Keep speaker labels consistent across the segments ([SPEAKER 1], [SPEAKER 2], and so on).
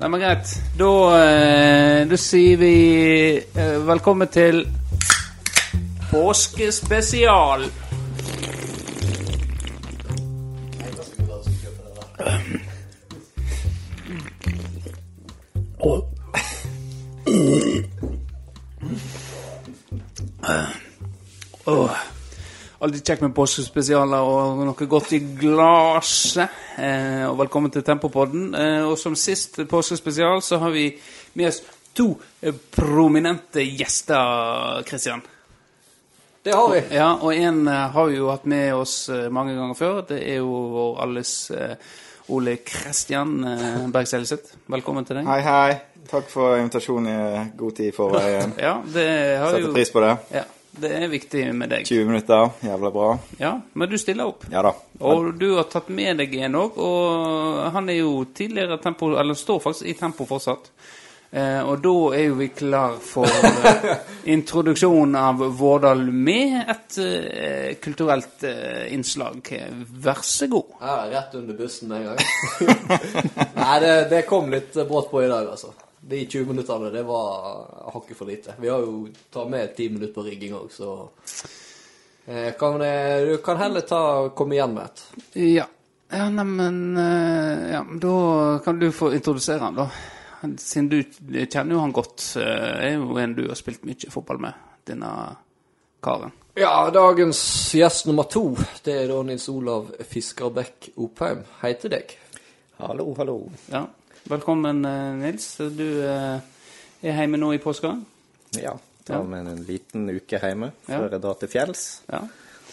[SPEAKER 1] Nei, men greit. Da, eh, da sier vi eh, velkommen til påskespesial. Åh. Alltid kjekt med påskespesialer og noe godt i glasset. Eh, og velkommen til Tempopodden. Eh, og som sist påskespesial så har vi med oss to eh, prominente gjester, Kristian.
[SPEAKER 2] Det har vi.
[SPEAKER 1] Ja, og en eh, har vi jo hatt med oss eh, mange ganger før. Det er jo vår alles eh, Ole Kristian eh, Bergselseth. Velkommen til deg.
[SPEAKER 3] Hei, hei. Takk for invitasjonen i god tid i forveien.
[SPEAKER 1] Ja, det har
[SPEAKER 3] Setter
[SPEAKER 1] jo
[SPEAKER 3] pris på det.
[SPEAKER 1] Ja, det er viktig med deg.
[SPEAKER 3] 20 minutter, jævla bra.
[SPEAKER 1] Ja, men du stiller opp.
[SPEAKER 3] Ja da.
[SPEAKER 1] Og du har tatt med deg en òg, og han er jo tidligere tempo, eller står faktisk i tempo fortsatt. Eh, og da er jo vi klar for eh, introduksjonen av Vårdal med et eh, kulturelt eh, innslag. Vær så god.
[SPEAKER 2] Ja, rett under bussen med en gang. Nei, det, det kom litt brått på i dag, altså. De 20 minuttene, det var hakket for lite. Vi har jo tatt med 10 minutter på rigging òg, så eh, kan, eh, Du kan heller ta komme igjen med et.
[SPEAKER 1] Ja, ja neimen eh, ja, Da kan du få introdusere han, da. Han- Siden du kjenner jo han godt. eh, Er jo en du har spilt mye fotball med, denne karen.
[SPEAKER 2] Ja, dagens gjest nummer to, det er da Nils Olav Fiskerbekk Opheim. Hei til deg.
[SPEAKER 4] Hallo, hallo.
[SPEAKER 1] Ja. Velkommen, eh, Nils. Du eh, er hjemme nå i påska?
[SPEAKER 4] Ja,
[SPEAKER 1] Ja.
[SPEAKER 4] tar med en liten uke hjemme
[SPEAKER 1] Ja.
[SPEAKER 4] før jeg drar til fjells.
[SPEAKER 1] Ja.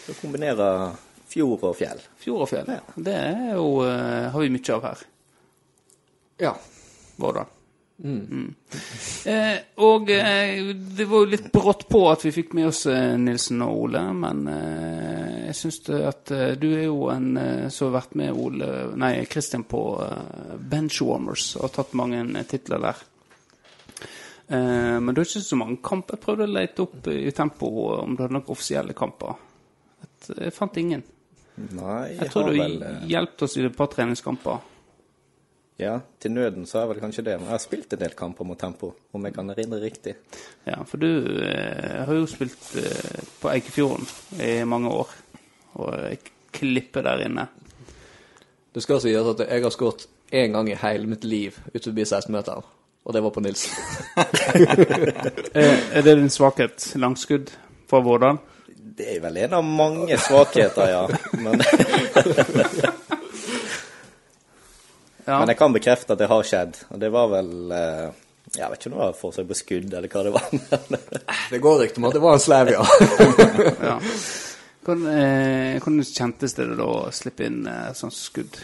[SPEAKER 4] Så kombinerer fjord og fjell.
[SPEAKER 1] Fjord og fjell. Det er jo, eh, har vi mye av her.
[SPEAKER 2] Ja.
[SPEAKER 1] Vårdal. Mm. Eh, og eh, det var jo litt brått på at vi fikk med oss eh, Nilsen og Ole, men eh, jeg syns det at eh, du er jo en eh, som har vært med Ole Nei, Kristian på eh, Benchwarmers og har tatt mange eh, titler der. Eh, men du har ikke så mange kamper. Jeg prøvde å lete opp i tempo eh, om du hadde noen offisielle kamper. Et, jeg fant ingen.
[SPEAKER 4] Nei,
[SPEAKER 1] Jeg tror
[SPEAKER 4] har
[SPEAKER 1] du
[SPEAKER 4] vel, eh,
[SPEAKER 1] hjelpte oss i et par treningskamper.
[SPEAKER 4] Ja, til nøden så har jeg vel kanskje det. Men jeg har spilt en del kamper mot tempo, om jeg kan erindre riktig.
[SPEAKER 1] Ja, for du eh, har jo spilt eh, på Eikefjorden i mange år, og eh, klippet der inne.
[SPEAKER 2] Det skal sies at jeg har skåret én gang i hele mitt liv ut forbi 16-meteren, og det var på Nils.
[SPEAKER 1] Eh, er det din svakhet? Langskudd fra Vårdal?
[SPEAKER 4] Det er vel en av mange svakheter, ja. Men,
[SPEAKER 1] Ja.
[SPEAKER 4] men jeg kan bekrefte at det har skjedd. Og det var vel eh, Jeg vet ikke om det var forsøk på skudd, eller hva det var. Men
[SPEAKER 2] Det går rykter om at det var en slev, ja.
[SPEAKER 1] ja. Hvordan, eh, hvordan kjentes det da å slippe inn eh, sånn skudd?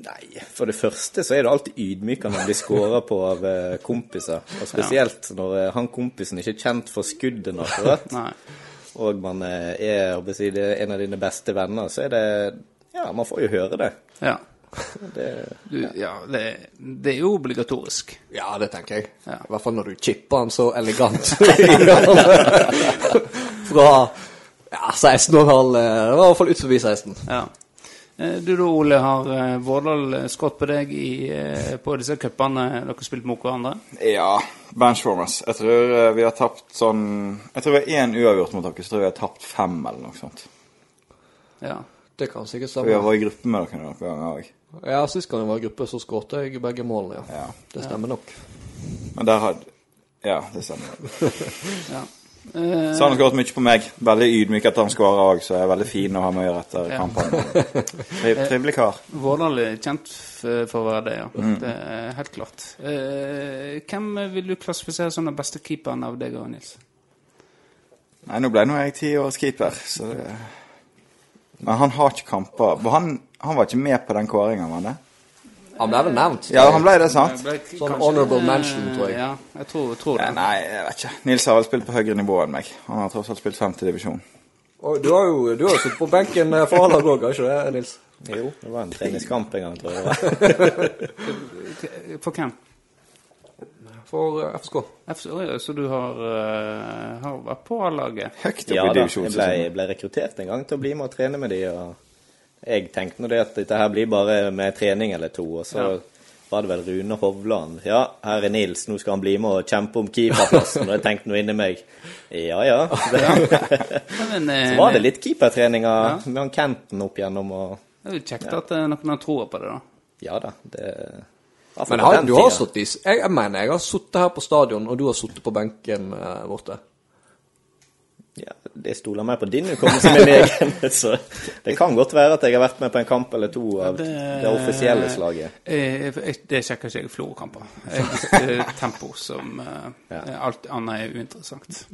[SPEAKER 4] Nei, for det første så er det alltid ydmykende å bli skåra på av eh, kompiser. Og spesielt når eh, han kompisen ikke er kjent for skuddene akkurat,
[SPEAKER 1] Nei.
[SPEAKER 4] og man eh, er håper jeg, å si, det er en av dine beste venner, så er det Ja, man får jo høre det.
[SPEAKER 1] Ja.
[SPEAKER 4] det
[SPEAKER 1] Du, ja, det, det er jo obligatorisk.
[SPEAKER 2] Ja, det tenker jeg.
[SPEAKER 1] Ja.
[SPEAKER 2] I hvert fall når du chipper han så elegant. Fra ja, 16 og en halv eh, Det var i hvert fall ut forbi 16.
[SPEAKER 1] Ja. Eh, Du da, Ole, har eh, Vårdal eh, skutt på deg i, eh, på disse cupene dere har spilt mot hverandre?
[SPEAKER 3] Ja, Benchwarmers. Jeg tror eh, vi har tapt sånn Jeg tror vi har én uavgjort mot dere, så tror jeg vi har tapt fem eller noe sånt.
[SPEAKER 1] Ja.
[SPEAKER 2] Det kan sikkert
[SPEAKER 3] Og vi
[SPEAKER 2] stemme.
[SPEAKER 3] har vært i gruppe med dere noen ganger òg.
[SPEAKER 2] Ja, Sist gang jeg var i gruppe, så skåret jeg begge målene, ja.
[SPEAKER 3] Ja.
[SPEAKER 2] Det stemmer nok.
[SPEAKER 3] Men der hadde Ja, det
[SPEAKER 1] Eh.
[SPEAKER 3] stemmer.
[SPEAKER 1] ja. Eh,
[SPEAKER 3] Så han har skåret mye på meg. Veldig ydmyk etter han skårer òg, så jeg er veldig fin å ha med å gjøre etter
[SPEAKER 1] Ja.
[SPEAKER 3] kampene. Tri- Trivelig kar.
[SPEAKER 1] Vårdal er kjent f- for å være det, ja.
[SPEAKER 4] Mm.
[SPEAKER 1] Det er helt klart. Eh, hvem vil du klassifisere som den beste keeperen av deg og Nils?
[SPEAKER 3] Nei, nå ble nå jeg ti års keeper, så det... Men han har ikke kamper. Var Han, han var ikke med på den kåringen, var han det?
[SPEAKER 2] Han ble vel nevnt?
[SPEAKER 3] Ja, han ble det, sant?
[SPEAKER 2] Sånn honorable mention, tror jeg.
[SPEAKER 1] Eh, Ja, jeg tror, tror
[SPEAKER 3] Ja,
[SPEAKER 1] det.
[SPEAKER 3] Nei, jeg vet ikke. Nils har vel spilt på høyere nivå enn meg. Han har tross alt spilt femte divisjon.
[SPEAKER 2] Og du har jo du har jo sittet på benken eh, for A-laget òg, har ikke det, Nils?
[SPEAKER 4] Jo, det var en treningskamp en gang, tror jeg. det var.
[SPEAKER 1] For hvem?
[SPEAKER 2] For eh, FSK.
[SPEAKER 1] F Å ja, så du har, eh, har vært på A-laget?
[SPEAKER 3] Høyt opp i
[SPEAKER 4] Ja da, jeg ble,
[SPEAKER 3] divisjonssesongen.
[SPEAKER 4] jeg ble rekruttert en gang til å bli med og trene med de, og jeg tenkte nå det at dette her blir bare med trening eller to, og så
[SPEAKER 1] Ja.
[SPEAKER 4] var det vel Rune Hovland. Ja, her er Nils, nå skal han bli med og kjempe om keeperplassen. Og jeg tenkte noe inni meg. Ja ja.
[SPEAKER 1] Men, eh,
[SPEAKER 4] Så var det litt keepertreninger med han Kenten opp gjennom og
[SPEAKER 1] Det er jo kjekt at eh, noen har troa på det, da.
[SPEAKER 4] Ja da, det Iallfall
[SPEAKER 2] Men
[SPEAKER 4] på
[SPEAKER 2] har,
[SPEAKER 4] den
[SPEAKER 2] du har
[SPEAKER 4] tida.
[SPEAKER 2] sittet i s- jeg, jeg mener jeg har sittet her på stadion, og du har sittet på benken eh, borte.
[SPEAKER 4] Ja, det stoler mer på din hukommelse enn min egen. Så det kan godt være at jeg har vært med på en kamp eller to av det, offisielle slaget.
[SPEAKER 1] Eh, jeg- Det sjekker ikke jeg Florø-kamper. Jeg- eh, Tempo som eh,
[SPEAKER 4] Ja.
[SPEAKER 1] eh, Alt annet er uinteressant.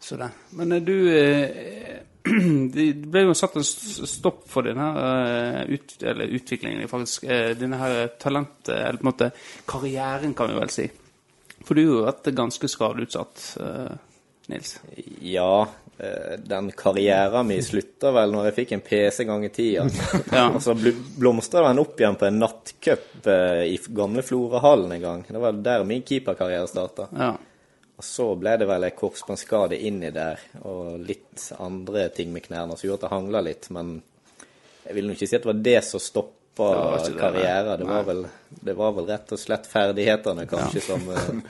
[SPEAKER 1] Så det. Men eh, du eh, Det ble jo satt en s- stopp for denne eh, ut, eller utviklingen, faktisk. eh, Denne her talentet, eller på en måte karrieren, kan vi vel si. For du har jo vært ganske skadeutsatt, eh, Nils.
[SPEAKER 4] Ja, eh, den karrieren min slutta vel når jeg fikk en PC gang i tida.
[SPEAKER 1] Ja.
[SPEAKER 4] Og så blomstra den opp igjen på en nattcup eh, i f- gamle Florahallen en gang. Det var der min keeperkarriere starta.
[SPEAKER 1] Ja.
[SPEAKER 4] Og så ble det vel en korsbåndskade inni der, og litt andre ting med knærne som gjorde at det hangla litt, men jeg vil nå ikke si at det var det som stoppa
[SPEAKER 1] Det var ikke det, nei.
[SPEAKER 4] karrieren. Det,
[SPEAKER 1] Nei.
[SPEAKER 4] var vel- det var vel rett og slett ferdighetene, kanskje, som eh,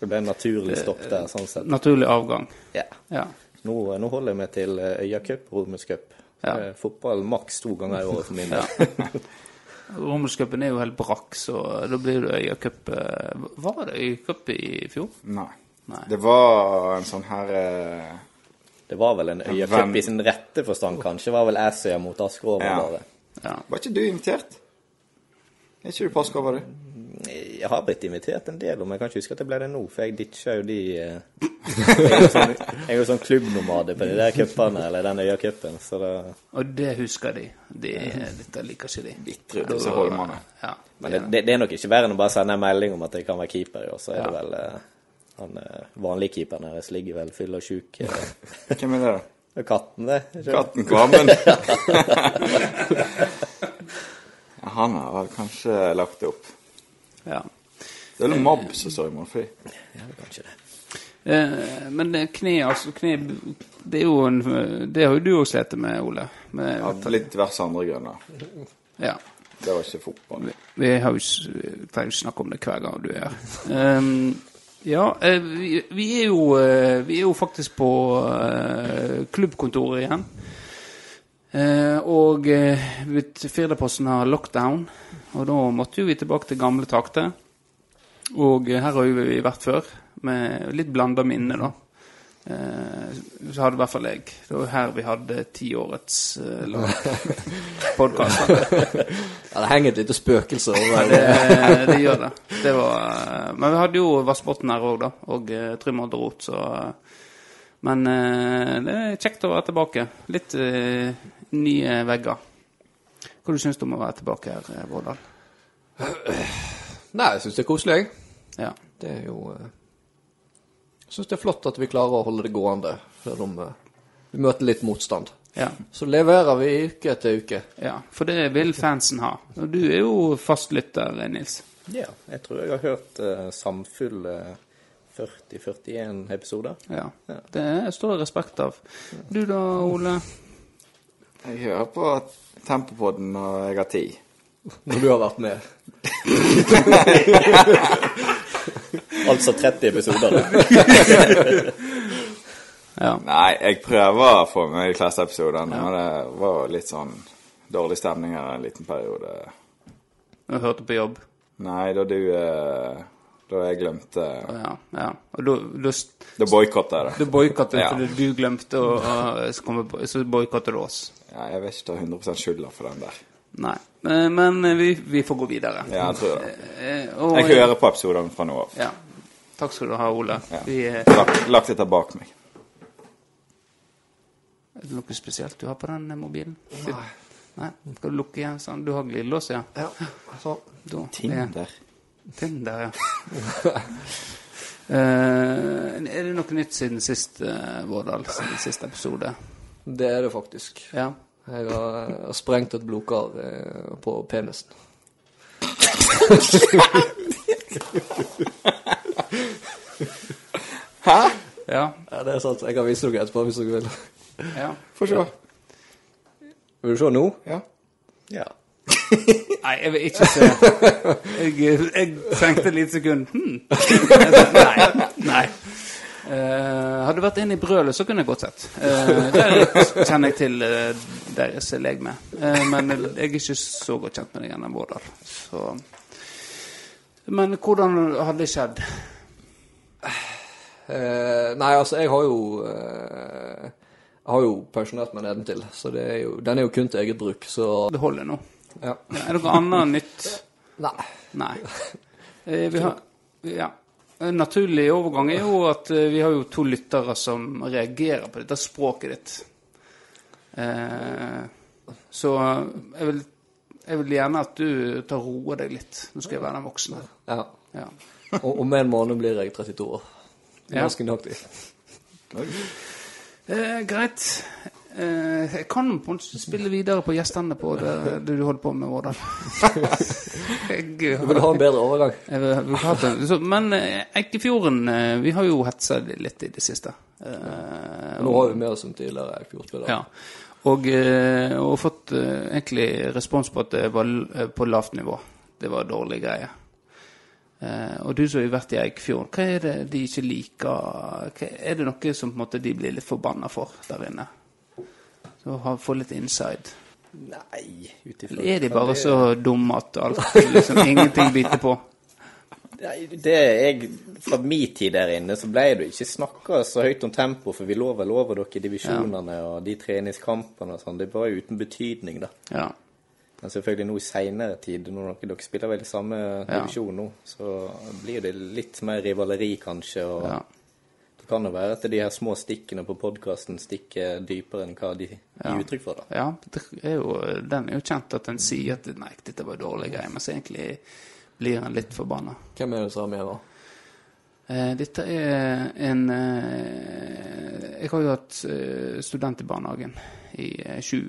[SPEAKER 4] det ble en naturlig stopp der, sånn sett.
[SPEAKER 1] Naturlig avgang.
[SPEAKER 4] Ja.
[SPEAKER 1] Ja.
[SPEAKER 4] Nå, nå holder jeg meg til eh, Øyacup, Romers Cup.
[SPEAKER 1] Ja.
[SPEAKER 4] Eh, Fotball maks to ganger i året for min
[SPEAKER 1] Ja.
[SPEAKER 4] del.
[SPEAKER 1] Romerscupen er jo helt brakk, så da blir det Øyacup eh, Var det Øyacup i fjor?
[SPEAKER 3] Nei.
[SPEAKER 1] Nei.
[SPEAKER 3] Det var en sånn her eh,
[SPEAKER 4] Det var vel en
[SPEAKER 3] Hvem-
[SPEAKER 4] Øyacup i sin rette forstand, kanskje. Det var vel Æsøya mot Asker
[SPEAKER 3] Ja.
[SPEAKER 4] bare.
[SPEAKER 1] Ja.
[SPEAKER 3] Var ikke du invitert? Er ikke du på Asker, var du?
[SPEAKER 4] Eh, Jeg har blitt invitert en del, men jeg kan ikke huske at jeg ble det nå, for jeg ditcha jo de eh, Jeg er jo sånn, jeg er jo sånn klubbnomade på de der cupene, eller den Øya-cupen, så det
[SPEAKER 1] Og det husker de. de dette liker ikke de.
[SPEAKER 3] Bitre, disse holmene.
[SPEAKER 1] Ja.
[SPEAKER 4] Men det, det, det er nok ikke verre enn å bare sende en melding om at jeg kan være keeper i år, så er det vel eh, han eh, vanlige keeperen deres ligger vel fyll og sjuk. eh,
[SPEAKER 3] Hvem er det, da?
[SPEAKER 4] Det er katten, det. ikke?
[SPEAKER 3] Katten Kvammen. Ja, Han har vel kanskje lagt det opp.
[SPEAKER 1] ja.
[SPEAKER 3] Det er vel Mobb som står i målfri.
[SPEAKER 4] Ja, kanskje det.
[SPEAKER 1] Eh, Men det kne, altså kne, Det er jo en eh, Det har jo du òg slitt med, Ole. Med,
[SPEAKER 3] Av litt diverse andre grunner.
[SPEAKER 1] ja.
[SPEAKER 3] Det var ikke fotball.
[SPEAKER 1] Vi, vi har jo s- vi pleier jo å snakke om det hver gang du er her. Ehm, ja, eh, vi, vi, er jo, eh, vi er jo faktisk på eh, klubbkontoret igjen. Eh, og eh, vet- Firdaposten har lockdown, og da måtte jo vi tilbake til gamle takter. Og eh, her har jo vi vært før, med litt blanda minne, da. Eh, så hadde i hvert fall jeg. Det var jo her vi hadde tiårets eh, podkast.
[SPEAKER 2] Ja, det henger et lite spøkelse over det.
[SPEAKER 1] det, det gjør det. det var, eh, men vi hadde jo Vassbotn her òg, da. Og eh, Trym hadde rot, så eh, Men eh, det er kjekt å være tilbake. Litt eh, nye vegger. Hva du syns du om å være tilbake her, eh, Vårdal?
[SPEAKER 2] Nei, jeg syns det er koselig, jeg.
[SPEAKER 1] Ja.
[SPEAKER 2] Det er jo eh, Jeg syns det er flott at vi klarer å holde det gående, selv om eh, vi møter litt motstand.
[SPEAKER 1] ja.
[SPEAKER 2] Så leverer vi uke etter uke.
[SPEAKER 1] Ja, for det vil fansen ha. Og du er jo fast lytter, eh, Nils.
[SPEAKER 4] Ja, jeg tror jeg har hørt eh, samfull eh, 40-41 episoder.
[SPEAKER 1] Ja.
[SPEAKER 4] Ja.
[SPEAKER 1] Det er- står det respekt av. Du da, Ole?
[SPEAKER 3] Jeg hører på Tempopodden når jeg har tid.
[SPEAKER 2] Når du har vært med.
[SPEAKER 4] Altså 30 episoder. da.
[SPEAKER 1] Ja.
[SPEAKER 3] Nei, jeg prøver å få med de fleste episodene, men det var litt sånn dårlig stemning her en liten periode.
[SPEAKER 1] Jeg hørte på jobb.
[SPEAKER 3] Nei, da du eh, Da jeg glemte
[SPEAKER 1] Ja. ja. Og da, da st-
[SPEAKER 3] Da boikotta jeg
[SPEAKER 1] Du
[SPEAKER 3] det.
[SPEAKER 1] boikottet
[SPEAKER 3] Ja.
[SPEAKER 1] fordi du glemte å å- så kommer- Så boikottet du oss.
[SPEAKER 3] Ja, jeg vil ikke ta 100 skylda for den der.
[SPEAKER 1] Nei. Eh, Men vi, vi får gå videre.
[SPEAKER 3] Ja, jeg tror det.
[SPEAKER 1] Eh, og-
[SPEAKER 3] Jeg hører på episodene fra nå av.
[SPEAKER 1] Ja. Takk skal du ha, Ole.
[SPEAKER 3] Ja.
[SPEAKER 1] Vi, eh,
[SPEAKER 3] Lagt, lagt dette bak meg.
[SPEAKER 1] er det noe spesielt du har på den eh, mobilen? Nei. Nei. Skal du lukke igjen sånn? Du har glidelås, ja?
[SPEAKER 2] Ja, sånn.
[SPEAKER 1] Da, Ja.
[SPEAKER 3] Tinder.
[SPEAKER 1] Tinder, ja. Eh, er det noe nytt siden sist, eh, Vårdal? Siden sist episode?
[SPEAKER 2] Det er det faktisk.
[SPEAKER 1] Ja.
[SPEAKER 2] Jeg har, jeg har sprengt et blodkar eh, på penisen.
[SPEAKER 1] Ja.
[SPEAKER 2] Ja, det er sant. Jeg kan vise dere etterpå hvis dere vil.
[SPEAKER 1] ja.
[SPEAKER 3] Få se.
[SPEAKER 2] Vil du se nå?
[SPEAKER 3] Ja.
[SPEAKER 4] Ja.
[SPEAKER 1] Nei, jeg vil ikke se. Jeg, jeg tenkte et lite sekund hm. Jeg sa, Nei. nei. Eh, hadde det vært en i brølet, så kunne jeg godt sett. Eh, der kjenner jeg til eh, deres leg med. Eh, men jeg er ikke så godt kjent med deg gjennom Vårdal. Så Men hvordan hadde det skjedd?
[SPEAKER 2] Eh, nei, altså, jeg har jo eh, Jeg har jo pensjonert meg nedentil, så det er jo, den er jo kun til eget bruk, så
[SPEAKER 1] Det holder nå.
[SPEAKER 2] ja.
[SPEAKER 1] Er det noe annet nytt?
[SPEAKER 2] Nei.
[SPEAKER 1] Nei. Eh, Vi har, ja. En naturlig overgang er jo at eh, vi har jo to lyttere som reagerer på dette språket ditt. Eh, Så eh, jeg vil, jeg vil gjerne at du tar roer deg litt. Nå skal jeg være den voksne.
[SPEAKER 2] Ja.
[SPEAKER 1] Ja.
[SPEAKER 2] Og, om en måned blir jeg 32 år.
[SPEAKER 1] Ja.
[SPEAKER 2] Ganske nøyaktig.
[SPEAKER 1] Eh, greit. Eh, jeg kan på en måte spille videre på gjestene på det, det du holder på med, Vårdal. Jeg-
[SPEAKER 2] Du vil ha en bedre overgang?
[SPEAKER 1] Jeg vil- vil ha det. Så, men eh, Eikefjorden eh, Vi har jo hetsa litt i det siste. Eh,
[SPEAKER 2] Nå har vi med oss en tidligere fjordspiller.
[SPEAKER 1] ja. Og, eh, og fått eh, egentlig respons på at det var l- eh, på lavt nivå. Det var dårlige greier. Eh, og du som har vært i Eikefjorden, hva er det de ikke liker? Hva, er det noe som på en måte, de blir litt forbanna for der inne? Så ha- Få litt inside.
[SPEAKER 4] Nei, ut ifra
[SPEAKER 1] Eller er de bare så dumme at alt liksom, ingenting biter på?
[SPEAKER 4] Nei, det jeg, Fra min tid der inne så ble det ikke snakka så høyt om tempo, for vi lå vel over dere i divisjonene og de treningskampene og sånn. Det var jo uten betydning, da.
[SPEAKER 1] Ja.
[SPEAKER 4] Men selvfølgelig nå i seinere tid, når dere, dere spiller vel i samme
[SPEAKER 1] Ja.
[SPEAKER 4] divisjon nå, så blir det litt mer rivaleri, kanskje. og
[SPEAKER 1] Ja.
[SPEAKER 4] Det kan jo være at de her små stikkene på podkasten stikker dypere enn hva de gir uttrykk for, da.
[SPEAKER 1] Ja, det er jo, den er jo kjent at en sier at nei, dette var dårlig greie, men så egentlig blir en litt forbanna.
[SPEAKER 2] Hvem er det som har med hva?
[SPEAKER 1] Eh, dette er en eh, Jeg har jo hatt eh, student i barnehagen i eh, sju,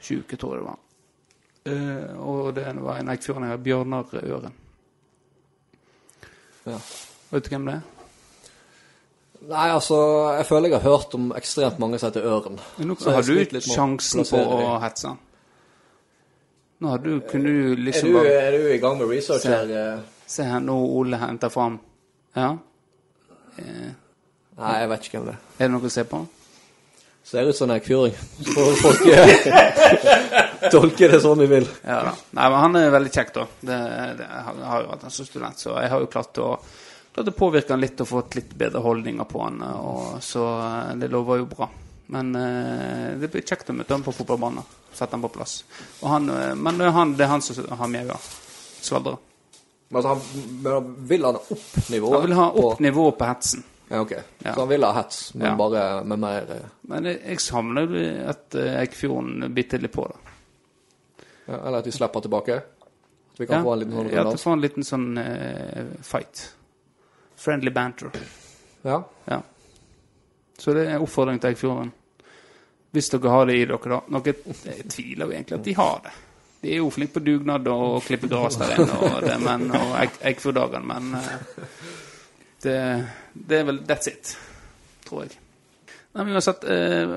[SPEAKER 1] sju uker, tror jeg det var. Eh, og det var en eikfjording av Bjørnar Øren.
[SPEAKER 2] Ja.
[SPEAKER 1] Vet du hvem det er?
[SPEAKER 2] Nei, altså, jeg føler jeg har hørt om ekstremt mange som heter Øren.
[SPEAKER 1] Nå
[SPEAKER 2] Så jeg
[SPEAKER 1] har
[SPEAKER 2] sliter
[SPEAKER 1] du
[SPEAKER 2] litt med å
[SPEAKER 1] sjansen på
[SPEAKER 2] plassere
[SPEAKER 1] å
[SPEAKER 2] dem.
[SPEAKER 1] hetse han. Nå har du, kunne du
[SPEAKER 2] Eh, er
[SPEAKER 1] liksom
[SPEAKER 2] du,
[SPEAKER 1] bare
[SPEAKER 2] er du i gang med research
[SPEAKER 1] Se.
[SPEAKER 2] her? eh?
[SPEAKER 1] Se her, nå Ole henter fram. Ja. Eh,
[SPEAKER 2] Nei, jeg vet ikke hvem det er.
[SPEAKER 1] Er det noe å se på?
[SPEAKER 2] Ser ut som en fjording. Så får folk eh, tolke det sånn de vil.
[SPEAKER 1] Ja da. Nei, men han er veldig kjekk, da. Det, det, han har jo vært en sånn student, så jeg har jo klart å, klart å påvirke han litt og fått litt bedre holdninger på han, og, så eh, det lover jo bra. Men eh, det blir kjekt å møte han på fotballbanen. Sette han på plass. Og han, eh, men det er han, det er han som har mjauer. Sladrer.
[SPEAKER 2] Men altså, han men vil han opp nivået?
[SPEAKER 1] Han vil ha
[SPEAKER 2] på-
[SPEAKER 1] opp nivået på hetsen.
[SPEAKER 2] Ja, ok.
[SPEAKER 1] Ja.
[SPEAKER 2] Så han vil ha hets, men
[SPEAKER 1] Ja.
[SPEAKER 2] bare med mer eh,
[SPEAKER 1] Men jeg, jeg savner jo at eh, Eikfjorden biter litt på, da.
[SPEAKER 2] ja, Eller at de slipper tilbake? At vi kan få en liten sånn
[SPEAKER 1] ja, at du
[SPEAKER 2] runddans?
[SPEAKER 1] får en liten sånn eh, fight. Friendly banter.
[SPEAKER 2] Ja.
[SPEAKER 1] Ja. Så det er en oppfordring til Eikfjorden. Hvis dere har det i dere, da. Noe jeg tviler jo egentlig at de har det. De er jo flinke på dugnad og å klippe gress der inne og, det, men, og Eik- Eikfjorddagen, men eh, det, det er vel That's it, tror jeg. Nei, men uansett, eh,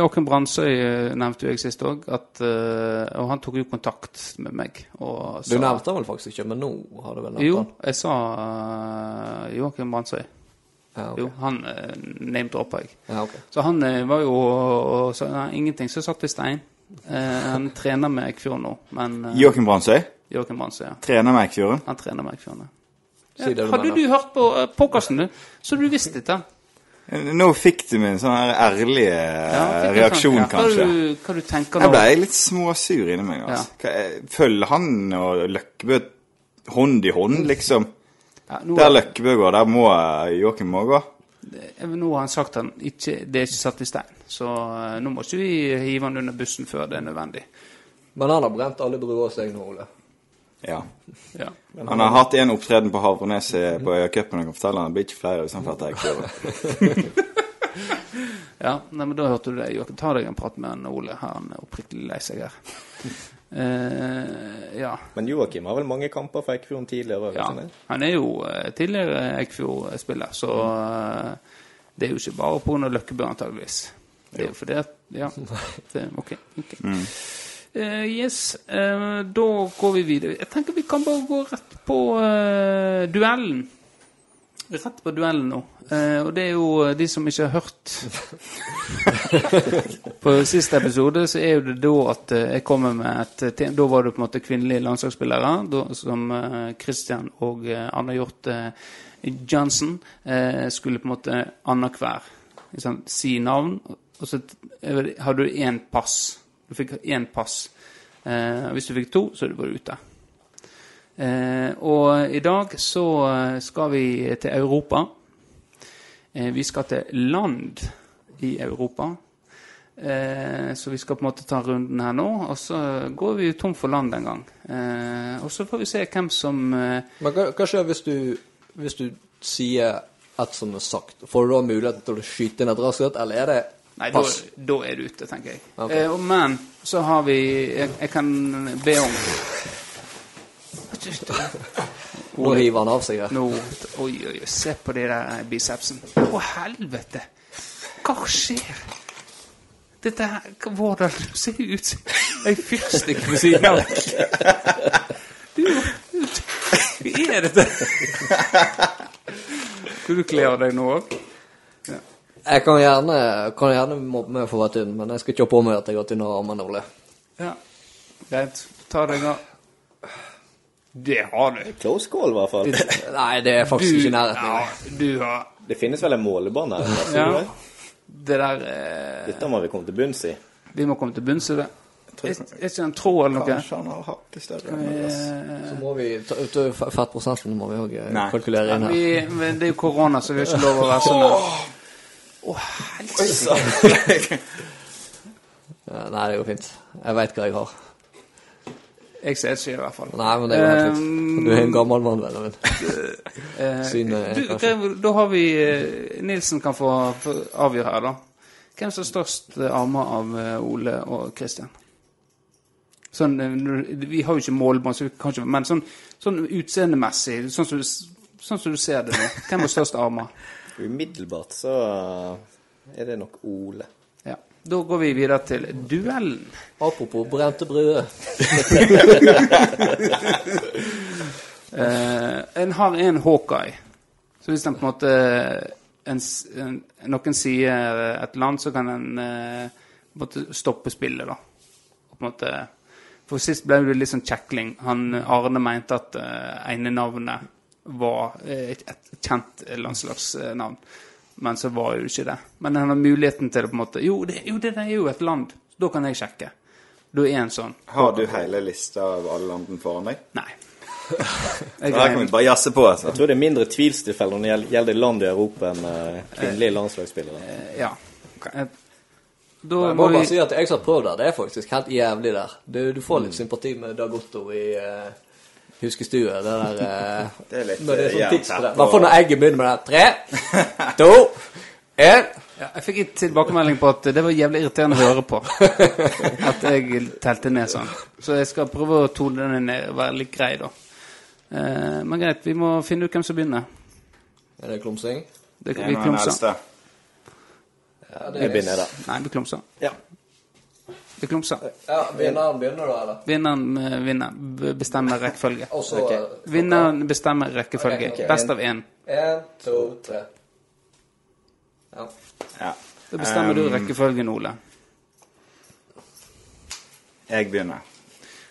[SPEAKER 1] Joakim Brandsøy eh, nevnte jo jeg sist òg, at eh, Og han tok jo kontakt med meg og
[SPEAKER 2] Du nevnte han vel faktisk ikke, men nå har du vel nevnt
[SPEAKER 1] Jo,
[SPEAKER 2] han?
[SPEAKER 1] jeg sa eh, Joakim Brandsøy.
[SPEAKER 2] Ja, ok.
[SPEAKER 1] Jo, han uh, name-droppa jeg.
[SPEAKER 2] Ja, ok.
[SPEAKER 1] Så han eh, var jo og sa nei, ingenting, så satt vi stein. Eh, han trener med Eikfjord nå, men eh,
[SPEAKER 3] Joakim Brandsøy
[SPEAKER 1] Joakim Brandsøy, ja.
[SPEAKER 3] trener med Eikfjorden.
[SPEAKER 1] Han trener med Eikfjord nå.
[SPEAKER 2] Si det du
[SPEAKER 1] Hadde
[SPEAKER 2] mener.
[SPEAKER 1] du hørt på uh, podkasten, du, så hadde du visst dette.
[SPEAKER 3] Nå fikk du min sånn her ærlige eh,
[SPEAKER 1] fikk jeg
[SPEAKER 3] reaksjon,
[SPEAKER 1] sånn,
[SPEAKER 3] kanskje.
[SPEAKER 1] Hva du, hva du tenker
[SPEAKER 3] Jeg
[SPEAKER 1] nå?
[SPEAKER 3] ble litt småsur inni meg. Altså. Hva- eh, Følger han og Løkkebø hånd i hånd, liksom?
[SPEAKER 1] Ja, nå,
[SPEAKER 3] Der Løkkebø går, der må eh, Joakim òg gå.
[SPEAKER 1] eh, nå har han sagt han ikke, det er ikke satt i stein, så eh, nå må ikke vi hive han under bussen før det er nødvendig.
[SPEAKER 2] Men han har brent alle bruer seg nå, Ole.
[SPEAKER 3] Ja.
[SPEAKER 1] Ja.
[SPEAKER 3] Han har hatt én opptreden på Havrenes eh, på Øyacupen. Jeg kan fortelle han det blir ikke flere hvis han får Eikfjorden.
[SPEAKER 1] Ja, nei, men da hørte du det. Joakim, ta deg en prat med han Ole. Han er oppriktig lei seg her. Eh, ja.
[SPEAKER 4] Men Joakim har vel mange kamper for Eikfjorden tidligere? sånn,
[SPEAKER 1] ja.
[SPEAKER 4] Ja.
[SPEAKER 1] Han er jo eh, tidligere Eikfjord-spiller, så eh, det er jo ikke bare pga. Løkkebø, antageligvis. Det er jo fordi at Ja. Det, ok. ok. Eh, yes, eh, da går vi videre. Jeg tenker vi kan bare gå rett på eh, duellen. Rett på duellen nå. Eh, og det er jo eh, de som ikke har hørt På siste episode så er jo det da at eh, jeg kommer med et eh, tema. Da var det på en måte kvinnelige landslagsspillere, da, som eh, Christian og eh, Anna Hjort eh, Johnson eh, skulle på en måte annenhver liksom, si navn. Og så t- jeg vet ikke, hadde du én pass. Du fikk én pass. Eh, hvis du fikk to, så var du ute. Eh, og i dag så eh, skal vi til Europa. Eh, vi skal til land i Europa. Eh, så vi skal på en måte ta runden her nå, og så går vi jo tom for land en gang. Eh, og så får vi se hvem som eh,
[SPEAKER 2] Men hva, hva skjer hvis du, hvis du sier et som er sagt? Får du da muligheten til å skyte inn et raskt et, eller er det
[SPEAKER 1] Nei, da,
[SPEAKER 2] pass?
[SPEAKER 1] da er du ute, tenker jeg.
[SPEAKER 2] Ok.
[SPEAKER 1] Eh, og- men så har vi Jeg, jeg kan be om
[SPEAKER 2] Nå hiver han av seg her.
[SPEAKER 1] Nå Oi, oi, oi. Se på de der eh, bicepsen. Å, helvete! Hva skjer? Dette her hva- Hvordan Du ser jo ut som ei fyrstikk ved siden av deg. Du du- Hva er dette? Skal du kle av deg nå òg?
[SPEAKER 2] Jeg kan gjerne, kan gjerne mobbe meg for å være tynn, men jeg skal ikke ha på meg at jeg har tynnere armer enn Ole.
[SPEAKER 1] Ja. Greit. Ta deg av Det har du.
[SPEAKER 4] Close call, i hvert fall.
[SPEAKER 2] Nei, det er faktisk ikke i nærheten.
[SPEAKER 1] ja,
[SPEAKER 2] engang.
[SPEAKER 1] du har
[SPEAKER 4] Det finnes vel en målebånd her? eller?
[SPEAKER 1] ja.
[SPEAKER 4] Tror du det?
[SPEAKER 1] Det der eh,
[SPEAKER 4] Dette må vi komme til bunns i.
[SPEAKER 1] Vi må komme til bunns i det. Er
[SPEAKER 3] tror-
[SPEAKER 1] er ikke det en tråd eller noe?
[SPEAKER 3] Kanskje han har hatt det større enn oss.
[SPEAKER 1] Eh,
[SPEAKER 2] Så må vi ta ut eh, fe- fettprosenten må vi òg
[SPEAKER 3] Nei.
[SPEAKER 2] kalkulere inn her.
[SPEAKER 1] Vi, men det er jo korona, så vi har ikke lov å være sånn. der.
[SPEAKER 2] Ja, Eh, Nei, det går fint. Jeg veit hva jeg har.
[SPEAKER 1] Jeg ser ikke i hvert fall.
[SPEAKER 2] Nei, men det går
[SPEAKER 1] Um,
[SPEAKER 2] helt fint. Du er en gammel mann, vennen min.
[SPEAKER 1] Eh,
[SPEAKER 2] Synet er
[SPEAKER 1] du,
[SPEAKER 2] kanskje-
[SPEAKER 1] hva- da har vi eh, Nilsen kan få få avgjøre her, da. Hvem som har størst eh, armer av eh, Ole og Kristian? Sånn, eh, når- vi har jo ikke målbånd, så vi kan ikke, men sånn, sånn utseendemessig, sånn som, du, s- sånn som du ser det nå, hvem har størst armer?
[SPEAKER 4] Umiddelbart så er det nok Ole.
[SPEAKER 1] Ja. Da går vi videre til duellen.
[SPEAKER 2] Apropos brente brød.
[SPEAKER 1] Eh, en har en Hawkeye. Så hvis den på en måte en, s- en, Noen sier et land, så kan en eh, på en måte stoppe spillet, da. Og på en måte For sist ble det litt sånn kjekling. Han Arne mente at eh, ene navnet var eh, et, et kjent landslagsnavn. Men så var jo ikke det. Men han har muligheten til det på en måte. Jo, det, jo, det, det er jo et land. Da kan jeg sjekke. Da er en sånn.
[SPEAKER 3] Har du hele lista av alle landene foran deg?
[SPEAKER 1] Nei. Jeg
[SPEAKER 3] Her kan vi bare jazze på, altså.
[SPEAKER 4] Jeg tror det er mindre tvilstilfeller når det gjel- gjelder land i Europa enn eh, kvinnelige landslagsspillere.
[SPEAKER 1] Ja. Eh, Da
[SPEAKER 2] Jeg
[SPEAKER 1] må
[SPEAKER 2] må
[SPEAKER 1] vi
[SPEAKER 2] bare si at jeg som har prøvd der, det er faktisk helt jævlig der. Du, du får litt sympati med Dag Otto i eh, huskestue. Det der eh,
[SPEAKER 3] Det er litt,
[SPEAKER 2] Når det er
[SPEAKER 3] eh,
[SPEAKER 2] sånn tids
[SPEAKER 3] jævlig
[SPEAKER 2] på det.
[SPEAKER 3] på-
[SPEAKER 2] Hvert fall når egget begynner med det. Tre, to, én.
[SPEAKER 1] ja, Jeg fikk en tilbakemelding på at det var jævlig irriterende å høre på. At jeg telte ned sånn. Så jeg skal prøve å tone det ned og være litt grei, da. Eh, Men greit, vi må finne ut hvem som begynner.
[SPEAKER 2] Er det klumsing?
[SPEAKER 1] Det kan
[SPEAKER 3] En
[SPEAKER 1] vi
[SPEAKER 3] av den
[SPEAKER 1] klumse.
[SPEAKER 3] eldste.
[SPEAKER 2] Ja,
[SPEAKER 4] Jeg begynner da.
[SPEAKER 1] Nei, vi klumser.
[SPEAKER 4] Ja.
[SPEAKER 1] Vi klumser.
[SPEAKER 2] Ja, Vinneren begynner da, eller?
[SPEAKER 1] Vinneren eh, vinner. B- Bestemmer rekkefølge.
[SPEAKER 2] Og så
[SPEAKER 1] Vinneren bestemmer rekkefølge.
[SPEAKER 2] Ok, ok.
[SPEAKER 1] Best av én.
[SPEAKER 2] Én, eh, to, tre. Ja.
[SPEAKER 3] Ja.
[SPEAKER 1] Da bestemmer du
[SPEAKER 3] Um,
[SPEAKER 1] rekkefølgen, Ole.
[SPEAKER 3] Jeg begynner.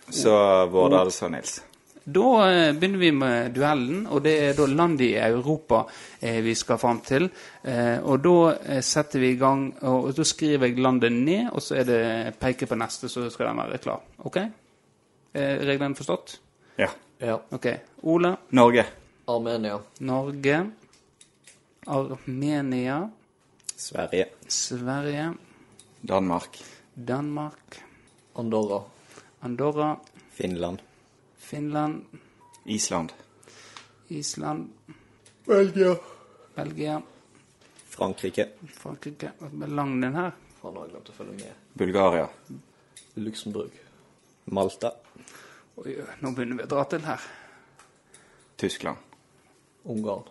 [SPEAKER 3] Så Vård Adelsson Nils.
[SPEAKER 1] Da eh, begynner vi med duellen, og det er da landet i Europa eh, vi skal fram til. Eh, og da eh, setter vi i gang, og, og da skriver jeg landet ned, og så er det peker på neste, så skal den være klar. OK? Eh, reglene forstått?
[SPEAKER 3] Ja.
[SPEAKER 2] ja.
[SPEAKER 1] OK. Ole,
[SPEAKER 3] Norge.
[SPEAKER 2] Armenia.
[SPEAKER 1] Norge, Armenia,
[SPEAKER 4] Sverige.
[SPEAKER 1] Sverige,
[SPEAKER 3] Danmark.
[SPEAKER 1] Danmark,
[SPEAKER 2] Andorra.
[SPEAKER 1] Andorra,
[SPEAKER 4] Finland.
[SPEAKER 1] Finland,
[SPEAKER 3] Island.
[SPEAKER 1] Island,
[SPEAKER 2] Belgia.
[SPEAKER 1] Belgia,
[SPEAKER 4] Frankrike.
[SPEAKER 1] Frankrike Lang den her.
[SPEAKER 2] Faen, nå har jeg glemt å følge med.
[SPEAKER 3] Bulgaria.
[SPEAKER 2] Luxembourg.
[SPEAKER 4] Malta.
[SPEAKER 1] Oi, nå begynner vi å dra til her.
[SPEAKER 3] Tyskland.
[SPEAKER 2] Ungarn.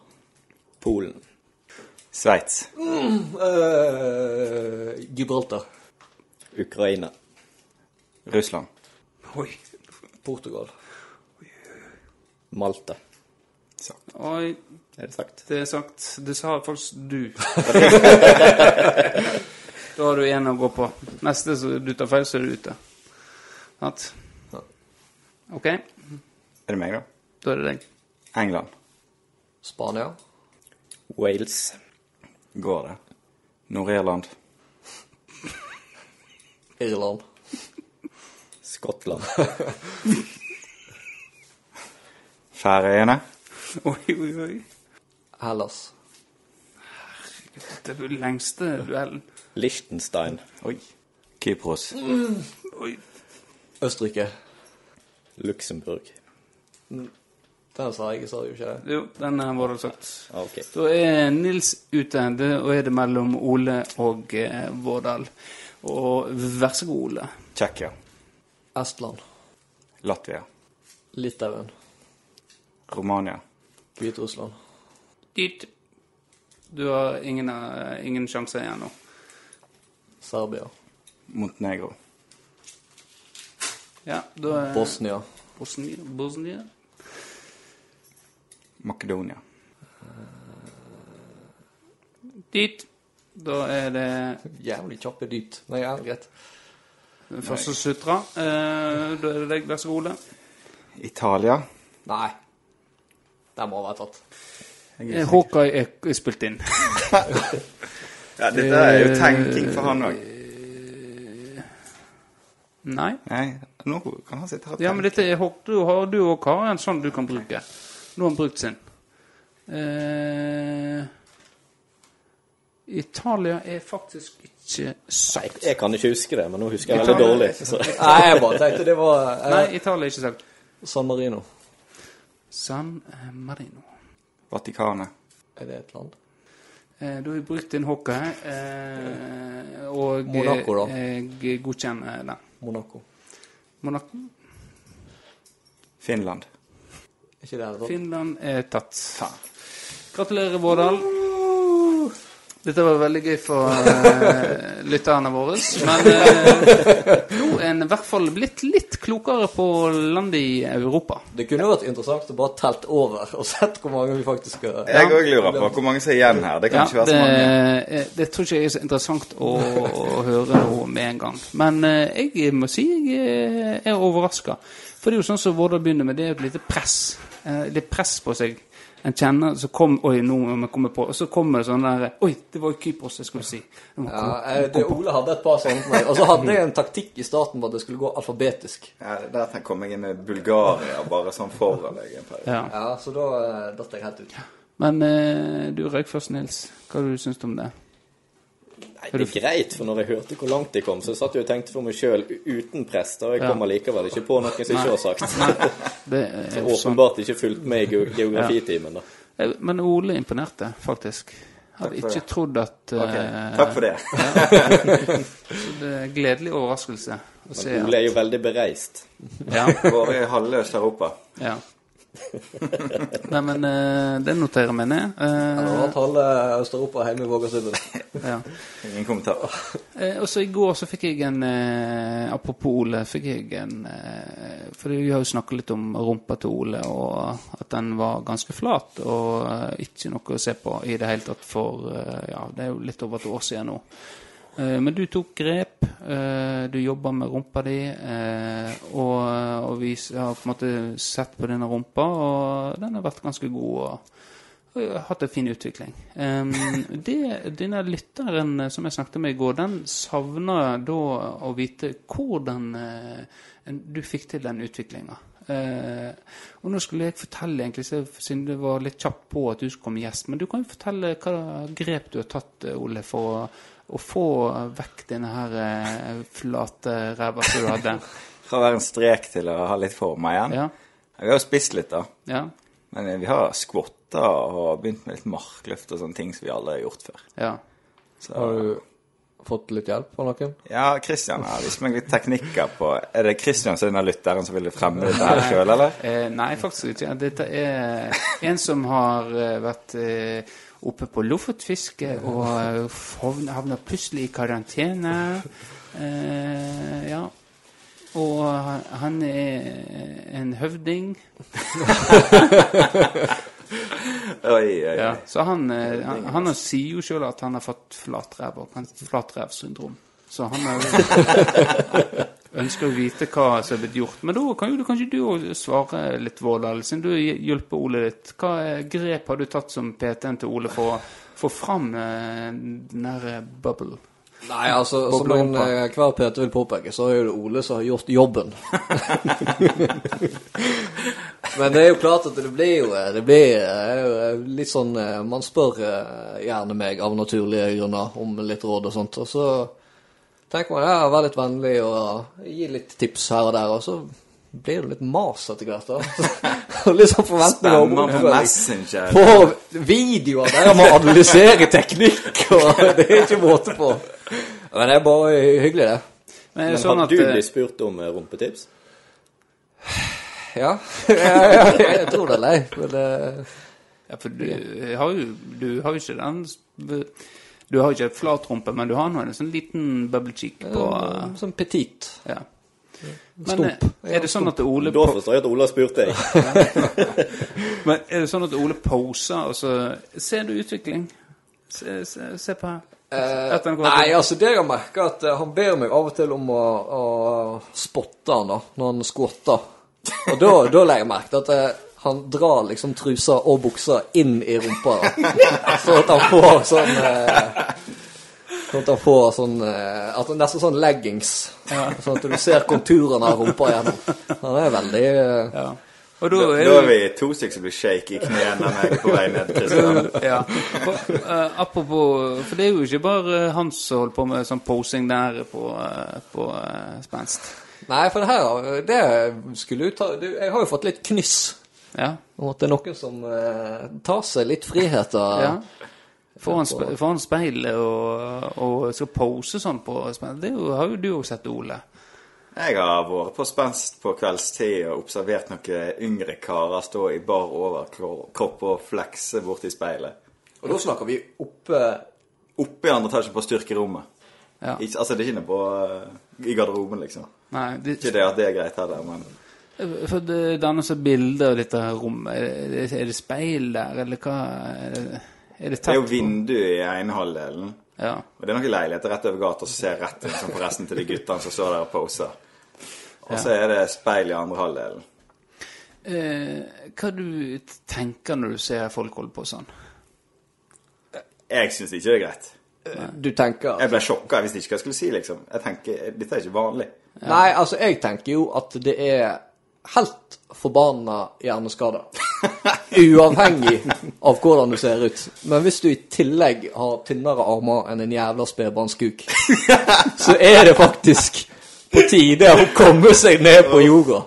[SPEAKER 4] Polen.
[SPEAKER 3] Sveits.
[SPEAKER 2] Eh, Gibraltar.
[SPEAKER 4] Ukraina.
[SPEAKER 3] Russland.
[SPEAKER 1] Oi.
[SPEAKER 2] Portugal.
[SPEAKER 4] Malta.
[SPEAKER 1] Oi,
[SPEAKER 4] Er det sagt?
[SPEAKER 1] det er sagt. Det sa faktisk du. da har du én å gå på. Neste så du tar feil, så er du ute. Sant? OK,
[SPEAKER 3] Er det meg, da?
[SPEAKER 1] da er det deg.
[SPEAKER 3] England.
[SPEAKER 2] Spania.
[SPEAKER 4] Wales.
[SPEAKER 3] Går det? Nord-Irland.
[SPEAKER 2] Irland.
[SPEAKER 4] Skottland.
[SPEAKER 3] Færøyene.
[SPEAKER 1] Oi, oi, oi.
[SPEAKER 2] Hellas.
[SPEAKER 1] Det er den lengste duellen.
[SPEAKER 4] Liechtenstein.
[SPEAKER 3] Oi. Kypros.
[SPEAKER 1] Oi.
[SPEAKER 2] Østerrike.
[SPEAKER 4] Luxembourg.
[SPEAKER 2] Den sa jeg, sa jeg jo ikke det.
[SPEAKER 1] Jo, den har vært sagt.
[SPEAKER 4] Ah, ok.
[SPEAKER 1] Da er Nils ute, det, og er det mellom Ole og eh, Vårdal. Og vær så god, Ole.
[SPEAKER 3] Tsjekkia.
[SPEAKER 2] Estland.
[SPEAKER 3] Latvia.
[SPEAKER 2] Litauen.
[SPEAKER 3] Romania.
[SPEAKER 2] Hviterussland.
[SPEAKER 1] Dit. Du har ingen, eh, ingen sjanse igjen nå.
[SPEAKER 2] Serbia.
[SPEAKER 3] Montenegro.
[SPEAKER 1] Ja, da er
[SPEAKER 2] Bosnia.
[SPEAKER 1] Bosnia, Bosnia.
[SPEAKER 3] Makedonia.
[SPEAKER 1] Dit. Da er det
[SPEAKER 2] Jævlig kjappe dypt. Nei, ja, greit.
[SPEAKER 1] den første sutra. Eh, da er det deg, vær så god, Ole.
[SPEAKER 3] Italia.
[SPEAKER 2] Nei. Den må være tatt.
[SPEAKER 1] Eh, Hawkeye er er spilt inn.
[SPEAKER 3] Ja, dette er jo tenking for han òg.
[SPEAKER 1] Nei?
[SPEAKER 3] Nei, nå kan han sitte her og
[SPEAKER 1] Ja, men
[SPEAKER 3] tenke.
[SPEAKER 1] dette er Hawk. Du har du òg har en sånn du kan bruke. Nå har han brukt sin. Eh, Italia er faktisk ikke
[SPEAKER 4] Nei,
[SPEAKER 1] sagt.
[SPEAKER 4] jeg kan ikke huske det, men nå husker
[SPEAKER 1] Jeg
[SPEAKER 4] jeg
[SPEAKER 1] tar
[SPEAKER 4] veldig dårlig.
[SPEAKER 1] det.
[SPEAKER 4] Så.
[SPEAKER 2] Nei, jeg bare tenkte det var eh,
[SPEAKER 1] Nei, Italia er ikke sagt.
[SPEAKER 2] San Marino.
[SPEAKER 1] San eh, Marino.
[SPEAKER 3] Vatikanet.
[SPEAKER 2] Er det et land?
[SPEAKER 1] Eh, da har vi brukt inn Hawk her, eh, og
[SPEAKER 2] Monaco, da.
[SPEAKER 1] eh, jeg godkjenner den.
[SPEAKER 2] Monaco.
[SPEAKER 1] Monaco.
[SPEAKER 3] Finland.
[SPEAKER 2] Er ikke det et land?
[SPEAKER 1] Finland er tatt.
[SPEAKER 3] Faen.
[SPEAKER 1] Gratulerer, Vårdal. Dette var veldig gøy for eh, lytterne våre. Men eh, nå er en i hvert fall blitt litt klokere på landet i Europa.
[SPEAKER 2] Det kunne vært interessant å bare telt over og sett hvor mange vi faktisk eh, skal
[SPEAKER 3] Jeg òg lurer på hvor mange som er igjen her. Det kan
[SPEAKER 1] Ja,
[SPEAKER 3] ikke være
[SPEAKER 1] det,
[SPEAKER 3] så mange.
[SPEAKER 1] eh, det tror ikke jeg er så interessant å, å høre noe med en gang. Men eh, jeg må si jeg eh, er overraska. For det er jo sånn som Vårdal begynner med, det er jo et lite press. Eh, Litt press på seg. En kjenner så kom, Oi, nå må jeg komme på. Og så kommer det sånn der Oi, det var jo Kypros jeg skulle si. Jeg må
[SPEAKER 2] Ja,
[SPEAKER 1] komme-
[SPEAKER 2] eh, det Ole hadde et par sånne på meg. Og så hadde jeg en taktikk i starten på at det skulle gå alfabetisk.
[SPEAKER 3] Ja, det- der kom jeg inn med Bulgaria bare sånn foran deg en periode.
[SPEAKER 1] Ja.
[SPEAKER 2] Ja, så da eh, datt jeg helt ut.
[SPEAKER 1] Men eh, du røyk først, Nils. Hva du syns du om det?
[SPEAKER 4] Nei, det er greit, for når jeg hørte hvor langt de kom, så satt jeg og tenkte for meg sjøl uten prester, og jeg
[SPEAKER 1] Ja.
[SPEAKER 4] kommer likevel ikke på noe som ikke var sagt.
[SPEAKER 1] Det er jo sånn.
[SPEAKER 4] Åpenbart ikke fulgt med i ge- geografitimen, da.
[SPEAKER 1] Eh, Men Ole imponerte, faktisk. Hadde
[SPEAKER 3] for
[SPEAKER 1] ikke
[SPEAKER 3] det.
[SPEAKER 1] trodd at
[SPEAKER 3] Ok,
[SPEAKER 1] eh,
[SPEAKER 3] Takk for det.
[SPEAKER 1] Det er en gledelig overraskelse å se.
[SPEAKER 4] Ole er jo veldig bereist.
[SPEAKER 1] Ja,
[SPEAKER 3] Går i halvløst Europa.
[SPEAKER 1] ja. Nei, men eh, det noterer meg ned. Eh,
[SPEAKER 2] Han har hatt halve Øst-Europa hjemme i Vågårdslubben.
[SPEAKER 1] ja.
[SPEAKER 3] Ingen kommentar.
[SPEAKER 1] Eh, og så i går så fikk jeg en eh, Apropos Ole, fikk jeg en eh, For vi har jo snakket litt om rumpa til Ole, og at den var ganske flat og eh, ikke noe å se på i det hele tatt for eh, Ja, det er jo litt over et år siden nå. Eh, men du tok grep, eh, du jobba med rumpa di, eh, og, og vi s- har på en måte sett på denne rumpa, og den har vært ganske god. og og jeg har hatt en fin utvikling. Ehm, det, denne lytteren eh, som jeg snakket med i går, den savner da å vite hvordan eh, en- du fikk til den utviklinga. og nå skulle jeg fortelle, egentlig, så- siden du var litt kjapp på at du skulle komme gjest, men du kan jo fortelle hva grep du har tatt, eh, Ole, for å, å få vekk denne her eh, flate ræva som du hadde.
[SPEAKER 3] Fra å være en strek til å ha litt former igjen.
[SPEAKER 1] Ja,
[SPEAKER 3] Vi har jo spist litt, da.
[SPEAKER 1] ja,
[SPEAKER 3] Men eh, vi har skvotta og begynt med litt markløft og sånne ting som vi aldri har gjort før.
[SPEAKER 1] ja.
[SPEAKER 3] Så,
[SPEAKER 2] Har du fått litt hjelp av noen?
[SPEAKER 3] ja, Christian har vist meg litt teknikker på Er det Christian som er den lytteren som ville fremme dette her sjøl, eller?
[SPEAKER 1] Eh, nei, faktisk ikke. Dette er en som har eh, vært eh, oppe på Lofotfiske og eh, havn- havner plutselig i karantene. Eh, ja. Og han er en høvding.
[SPEAKER 3] Oi, oi.
[SPEAKER 1] Ja, så han, eh, han, han sier jo sjøl at han har fått flatrev og kan flatrevsyndrom. Så han er, jo- ønsker å vite hva som er blitt gjort. Men da kan jo du- kanskje du også svare litt, Vårdal, siden du hjelper Ole litt. Hva eh, grep har du tatt som PT-en til Ole for å få fram eh, den der eh, bubble?
[SPEAKER 2] Nei, altså, som
[SPEAKER 1] Boble
[SPEAKER 2] en,
[SPEAKER 1] rumpa.
[SPEAKER 2] eh, hver PT vil påpeke, så er jo det Ole som har gjort jobben. Men det er jo klart at det blir jo eh, Det blir eh, litt sånn eh, Man spør eh, gjerne meg av naturlige grunner om litt råd og sånt, og så tenker man ja, vær litt vennlig og eh, gi litt tips her og der, og så blir det litt mas etter hvert. da. Og litt sånn forventninger om
[SPEAKER 3] Stemmer på
[SPEAKER 2] oppfølging.
[SPEAKER 3] Messenger.
[SPEAKER 2] På videoer der han må analysere teknikk, og det er ikke måte på. Men det er bare hyggelig,
[SPEAKER 1] Men,
[SPEAKER 2] det.
[SPEAKER 1] er det
[SPEAKER 4] Men
[SPEAKER 1] sånn
[SPEAKER 4] har
[SPEAKER 1] at,
[SPEAKER 4] du
[SPEAKER 1] eh,
[SPEAKER 4] blitt spurt om eh, rumpetips?
[SPEAKER 2] Ja. Jeg, jeg tror det er lei, men eh,
[SPEAKER 1] Ja, for du eh, har jo, du har jo ikke den s- Du har jo ikke et flatrumpe, men du har nå en sånn liten bubble cheek på eh,
[SPEAKER 2] sånn petit.
[SPEAKER 1] Ja. Men eh, er det sånn at Ole
[SPEAKER 4] Da forstår jeg at Ola har spurt deg.
[SPEAKER 1] Men er det sånn at Ole poser, og så ser du utvikling? Se, se, se på her. At den går
[SPEAKER 2] Nei,
[SPEAKER 1] til-
[SPEAKER 2] altså det jeg har merket er at eh, han ber meg av og til om å, å spotte han da, når han skvotter. Og da, da legger jeg merke til at eh, han drar liksom trusa og buksa inn i rumpa. da. Så at han får sånn... eh, Sånn at han får sånn eh, at det er Nesten sånn leggings. Sånn at du ser konturene av rumpa igjennom. Han er veldig eh,
[SPEAKER 1] ja. Og da
[SPEAKER 3] Da
[SPEAKER 1] er
[SPEAKER 3] er
[SPEAKER 1] du
[SPEAKER 3] vi to stykker som blir shake i knærne når jeg er på vei ned. Kristian.
[SPEAKER 1] ja. For, eh, apropos For det er jo ikke bare eh, han som holder på med sånn posing der på, eh, på eh, spenst.
[SPEAKER 2] Nei, for det her eh, Det skulle jo ta du, Jeg har jo fått litt knyss
[SPEAKER 1] Ja.
[SPEAKER 2] om at det er noen som eh, tar seg litt friheter.
[SPEAKER 1] ja. Foran, spe, foran speilet og, og skal pose sånn på spenst. Det er jo, har jo du òg sett, Ole.
[SPEAKER 3] Jeg har vært på spenst på kveldstid og observert noen yngre karer stå i bar overkropp og flekse borti speilet.
[SPEAKER 2] Og da snakker vi oppe
[SPEAKER 3] Oppe i andre etasje på styrkerommet.
[SPEAKER 1] Ja.
[SPEAKER 3] Ikke, altså, det er ikke noe på eh, i garderoben, liksom.
[SPEAKER 1] Nei, det,
[SPEAKER 3] Ikke det at det er greit heller, men
[SPEAKER 1] For det danner seg bilder av dette her rommet. Er det, er det speil der, eller hva? Er det, er det
[SPEAKER 3] det
[SPEAKER 1] tett
[SPEAKER 3] er jo
[SPEAKER 1] på?
[SPEAKER 3] vindu i ene halvdelen.
[SPEAKER 1] Ja.
[SPEAKER 3] Og det er noen leiligheter rett over gata som ser rett liksom, på resten til de guttene som står der og poser. Og så er det speil i andre halvdelen.
[SPEAKER 1] Eh, hva du tenker når du ser folk holde på sånn?
[SPEAKER 3] Jeg syns ikke det er greit.
[SPEAKER 2] eh, Du tenker
[SPEAKER 3] Jeg ble sjokka. Jeg visste ikke hva jeg skulle si, liksom. Jeg tenker, Dette er ikke vanlig.
[SPEAKER 2] Nei, altså, jeg tenker jo at det er helt forbanna hjerneskader. Uavhengig av hvordan du ser ut. Men hvis du i tillegg har tynnere armer enn en jævla spedbarnskuk, så er det faktisk på tide å komme seg ned på jorda.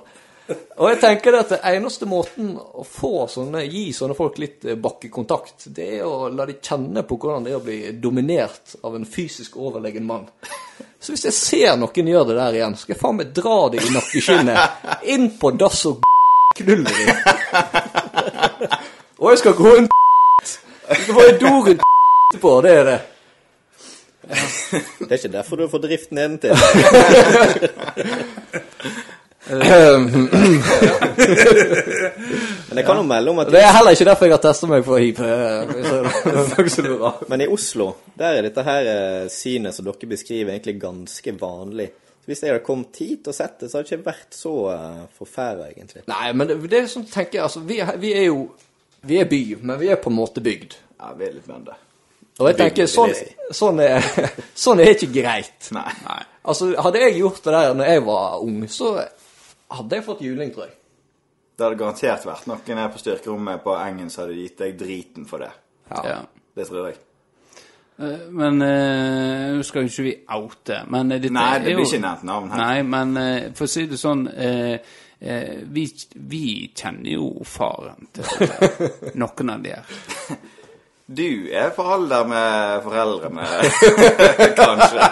[SPEAKER 2] Og jeg tenker det at det eneste måten å få sånne, gi sånne folk litt eh, bakkekontakt, det er å la de kjenne på hvordan det er å bli dominert av en fysisk overlegen mann. Så hvis jeg ser noen gjøre det der igjen, skal jeg faen meg dra det i nakkeskinnet, inn på dass og knulle dem. Og jeg skal gå en Du skal få en dorund etterpå, det er det.
[SPEAKER 4] Det er ikke derfor du får driften nedentil. Eh, Men jeg kan jo melde om at
[SPEAKER 2] Det er heller ikke derfor jeg har testa meg for hiv. eh, hvis det er noen som lurer.
[SPEAKER 4] Men i Oslo, der er dette her eh, synet som dere beskriver, egentlig ganske vanlig. Så hvis jeg hadde kommet hit og sett det, så hadde det ikke vært så eh, forfæra, egentlig.
[SPEAKER 2] Nei, men det, det er sånn tenker jeg, altså, vi, er- vi er jo Vi er by, men vi er på en måte bygd.
[SPEAKER 3] Ja, vi er litt bønder.
[SPEAKER 2] Og jeg tenker,
[SPEAKER 4] Bygd, vil
[SPEAKER 2] sånn,
[SPEAKER 4] jeg
[SPEAKER 2] sånn, er, sånn er ikke greit.
[SPEAKER 3] Nei.
[SPEAKER 2] Altså, hadde jeg gjort det der når jeg var ung, så hadde jeg fått juling, tror jeg.
[SPEAKER 3] Det hadde garantert vært noen her på styrkerommet på Engen som hadde gitt deg driten for det.
[SPEAKER 1] Ja.
[SPEAKER 3] Det tror jeg.
[SPEAKER 1] Eh, Men eh, nå skal jo ikke vi oute, men eh, dette
[SPEAKER 3] Nei, det
[SPEAKER 1] er
[SPEAKER 3] blir
[SPEAKER 1] jo
[SPEAKER 3] ikke nevnt navn her.
[SPEAKER 1] Nei, men eh, for å si det sånn eh, eh, vi, vi kjenner jo faren til dette. noen av de her.
[SPEAKER 3] Du er på alder med foreldrene, kanskje.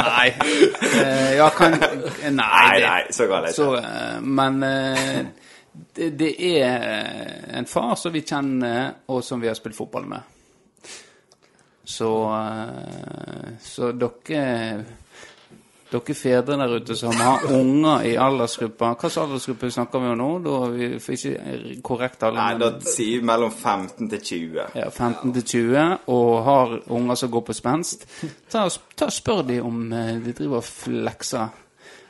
[SPEAKER 1] Nei. Eh, ja, kan Nei,
[SPEAKER 3] Nei,
[SPEAKER 1] det-
[SPEAKER 3] nei, så galt er det ikke.
[SPEAKER 1] Så, eh, men eh, det, det er eh, en far som vi kjenner, og som vi har spilt fotball med. Så eh, Så dere Dere fedre der ute som har unger i aldersgruppa Hva slags aldersgruppe snakker vi om nå? Da har vi for ikke korrekt alle,
[SPEAKER 3] Nei,
[SPEAKER 1] men-
[SPEAKER 3] da sier vi mellom 15 til 20.
[SPEAKER 1] ja, 15 til 20 og har unger som går på spenst, ta, og sp- ta og spør de om eh, de driver og flekser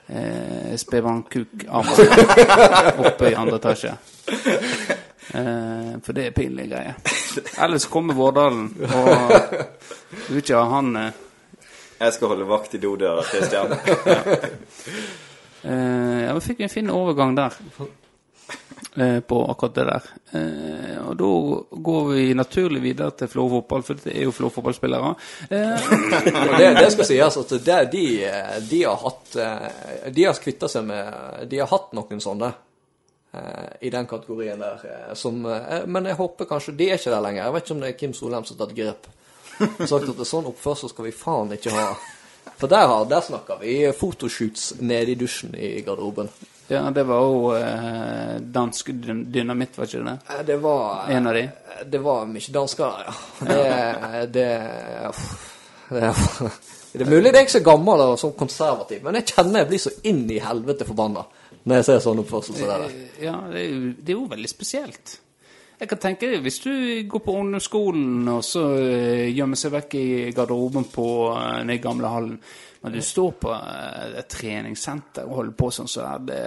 [SPEAKER 1] eh, spedbarnkuk-armer oppe i andre etasje. Eh, for det er pinlige greier. Ellers kommer Vårdalen, og du vil ikke ha han eh,
[SPEAKER 3] Jeg skal holde vakt i dodøra, Christian.
[SPEAKER 1] Eh, ja, vi fikk en fin overgang der. Eh, på akkurat det der. Eh, og da går vi naturlig videre til Flå fotball, for det er jo Flå fotballspillere. Eh,
[SPEAKER 2] Og det, det skal sies at det, de, de har hatt eh, De har kvittet seg med De har hatt noen sånne eh, i den kategorien der. eh, Som, eh, men jeg håper kanskje De er ikke der lenger. Jeg vet ikke om det er Kim Solheim som har tatt grep. Sagt at sånn oppførsel skal vi faen ikke ha. For der, har- der snakker vi fotoshoots nede i dusjen i garderoben.
[SPEAKER 1] ja, det var jo eh, dansk dyn- dynamitt, var ikke det?
[SPEAKER 2] Eh, Det var
[SPEAKER 1] En av de?
[SPEAKER 2] Eh, Det var mye dansker der, ja. Det, det, uff, det, det er mulig det er ikke så gammel og sånn konservativ, men jeg kjenner jeg blir så inn i helvete forbanna når jeg ser sånn oppførsel som det der.
[SPEAKER 1] Eh, Ja, det er, jo, det er jo veldig spesielt. Jeg kan tenke deg, Hvis du går på ungdomsskolen og så eh, gjemmer seg vekk i garderoben på eh, den gamle hallen, men du står på eh, et treningssenter og holder på sånn, så er det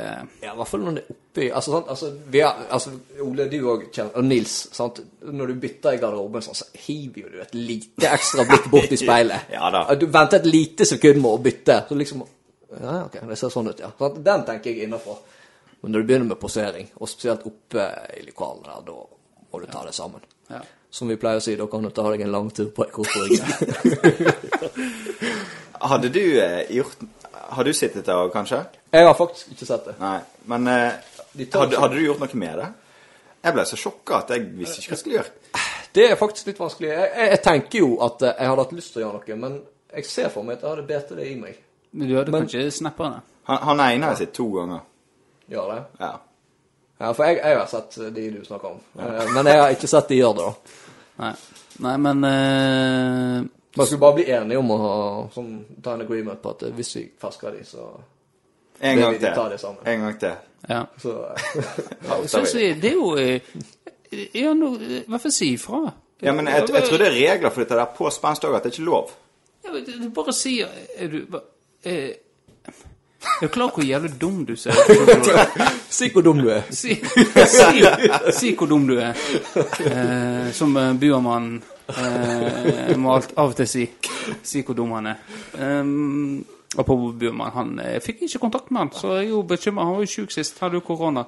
[SPEAKER 2] Ja, i hvert fall når det er oppi altså, sant, altså, vi er, altså, Ole, du òg kjenner Og Nils. Sant? Når du bytter i garderoben, sånn, så hiver jo du et lite ekstra blikk bort i speilet.
[SPEAKER 3] Ja da.
[SPEAKER 2] Du venter et lite sekund med å bytte. Så liksom Ja, ja, ok, det ser sånn ut, ja. Sant? Den tenker jeg innafor. Men når du begynner med posering, og spesielt oppe i lokalene der, da må du ta det sammen.
[SPEAKER 1] Ja.
[SPEAKER 2] Som vi pleier å si, da kan du ta deg en lang tur på ei korsrygg.
[SPEAKER 3] Hadde du eh, gjort Har du sittet der òg, kanskje?
[SPEAKER 2] Jeg har faktisk ikke sett det.
[SPEAKER 3] Nei. Men eh,
[SPEAKER 2] De tar
[SPEAKER 3] hadde,
[SPEAKER 2] ikke-
[SPEAKER 3] hadde du gjort noe med det? Jeg ble så sjokka at jeg visste ikke hva jeg skulle gjøre.
[SPEAKER 2] Det er faktisk litt vanskelig. Jeg, jeg, jeg tenker jo at eh, jeg hadde hatt lyst til å gjøre noe, men jeg ser for meg at jeg hadde bedt det i meg.
[SPEAKER 1] Men du hadde
[SPEAKER 2] Men-
[SPEAKER 1] kanskje snappa det?
[SPEAKER 3] Han, han ene har jeg sett to ganger.
[SPEAKER 2] Gjør det?
[SPEAKER 3] Ja.
[SPEAKER 2] Ja, for jeg, jeg har sett de du snakker om. Eh, Men jeg har ikke sett de gjør det, da.
[SPEAKER 1] Nei. Nei, men eh,
[SPEAKER 2] Man skulle bare bli enige om å ha, sånn, ta en agreement på at eh, hvis vi fersker de, så
[SPEAKER 3] En
[SPEAKER 2] Det
[SPEAKER 3] gang
[SPEAKER 2] vil de ta det
[SPEAKER 3] til.
[SPEAKER 2] sammen.
[SPEAKER 3] En gang til.
[SPEAKER 1] Ja.
[SPEAKER 2] Så eh,
[SPEAKER 1] Jeg synes vi- det er jo eh, Ja, nå eh, Hva får jeg si ifra?
[SPEAKER 3] Ja, men jeg, jeg tror det er regler for dette der på spenst òg, at det er ikke lov.
[SPEAKER 1] Ja, men du bare sier Er du hva- eh, Er du klar over hvor jævlig dum du ser ut?
[SPEAKER 2] Si hvor dum du er.
[SPEAKER 1] Si, si, si hvor dum du er. Eh, som eh, buamannen eh, må alt, av og til si. Si hvor dum han er. Um, Apropos buamann, han eh, jeg fikk ikke kontakt med han, så jeg er jo bekymra. Han var jo sjuk sist, hadde jo korona.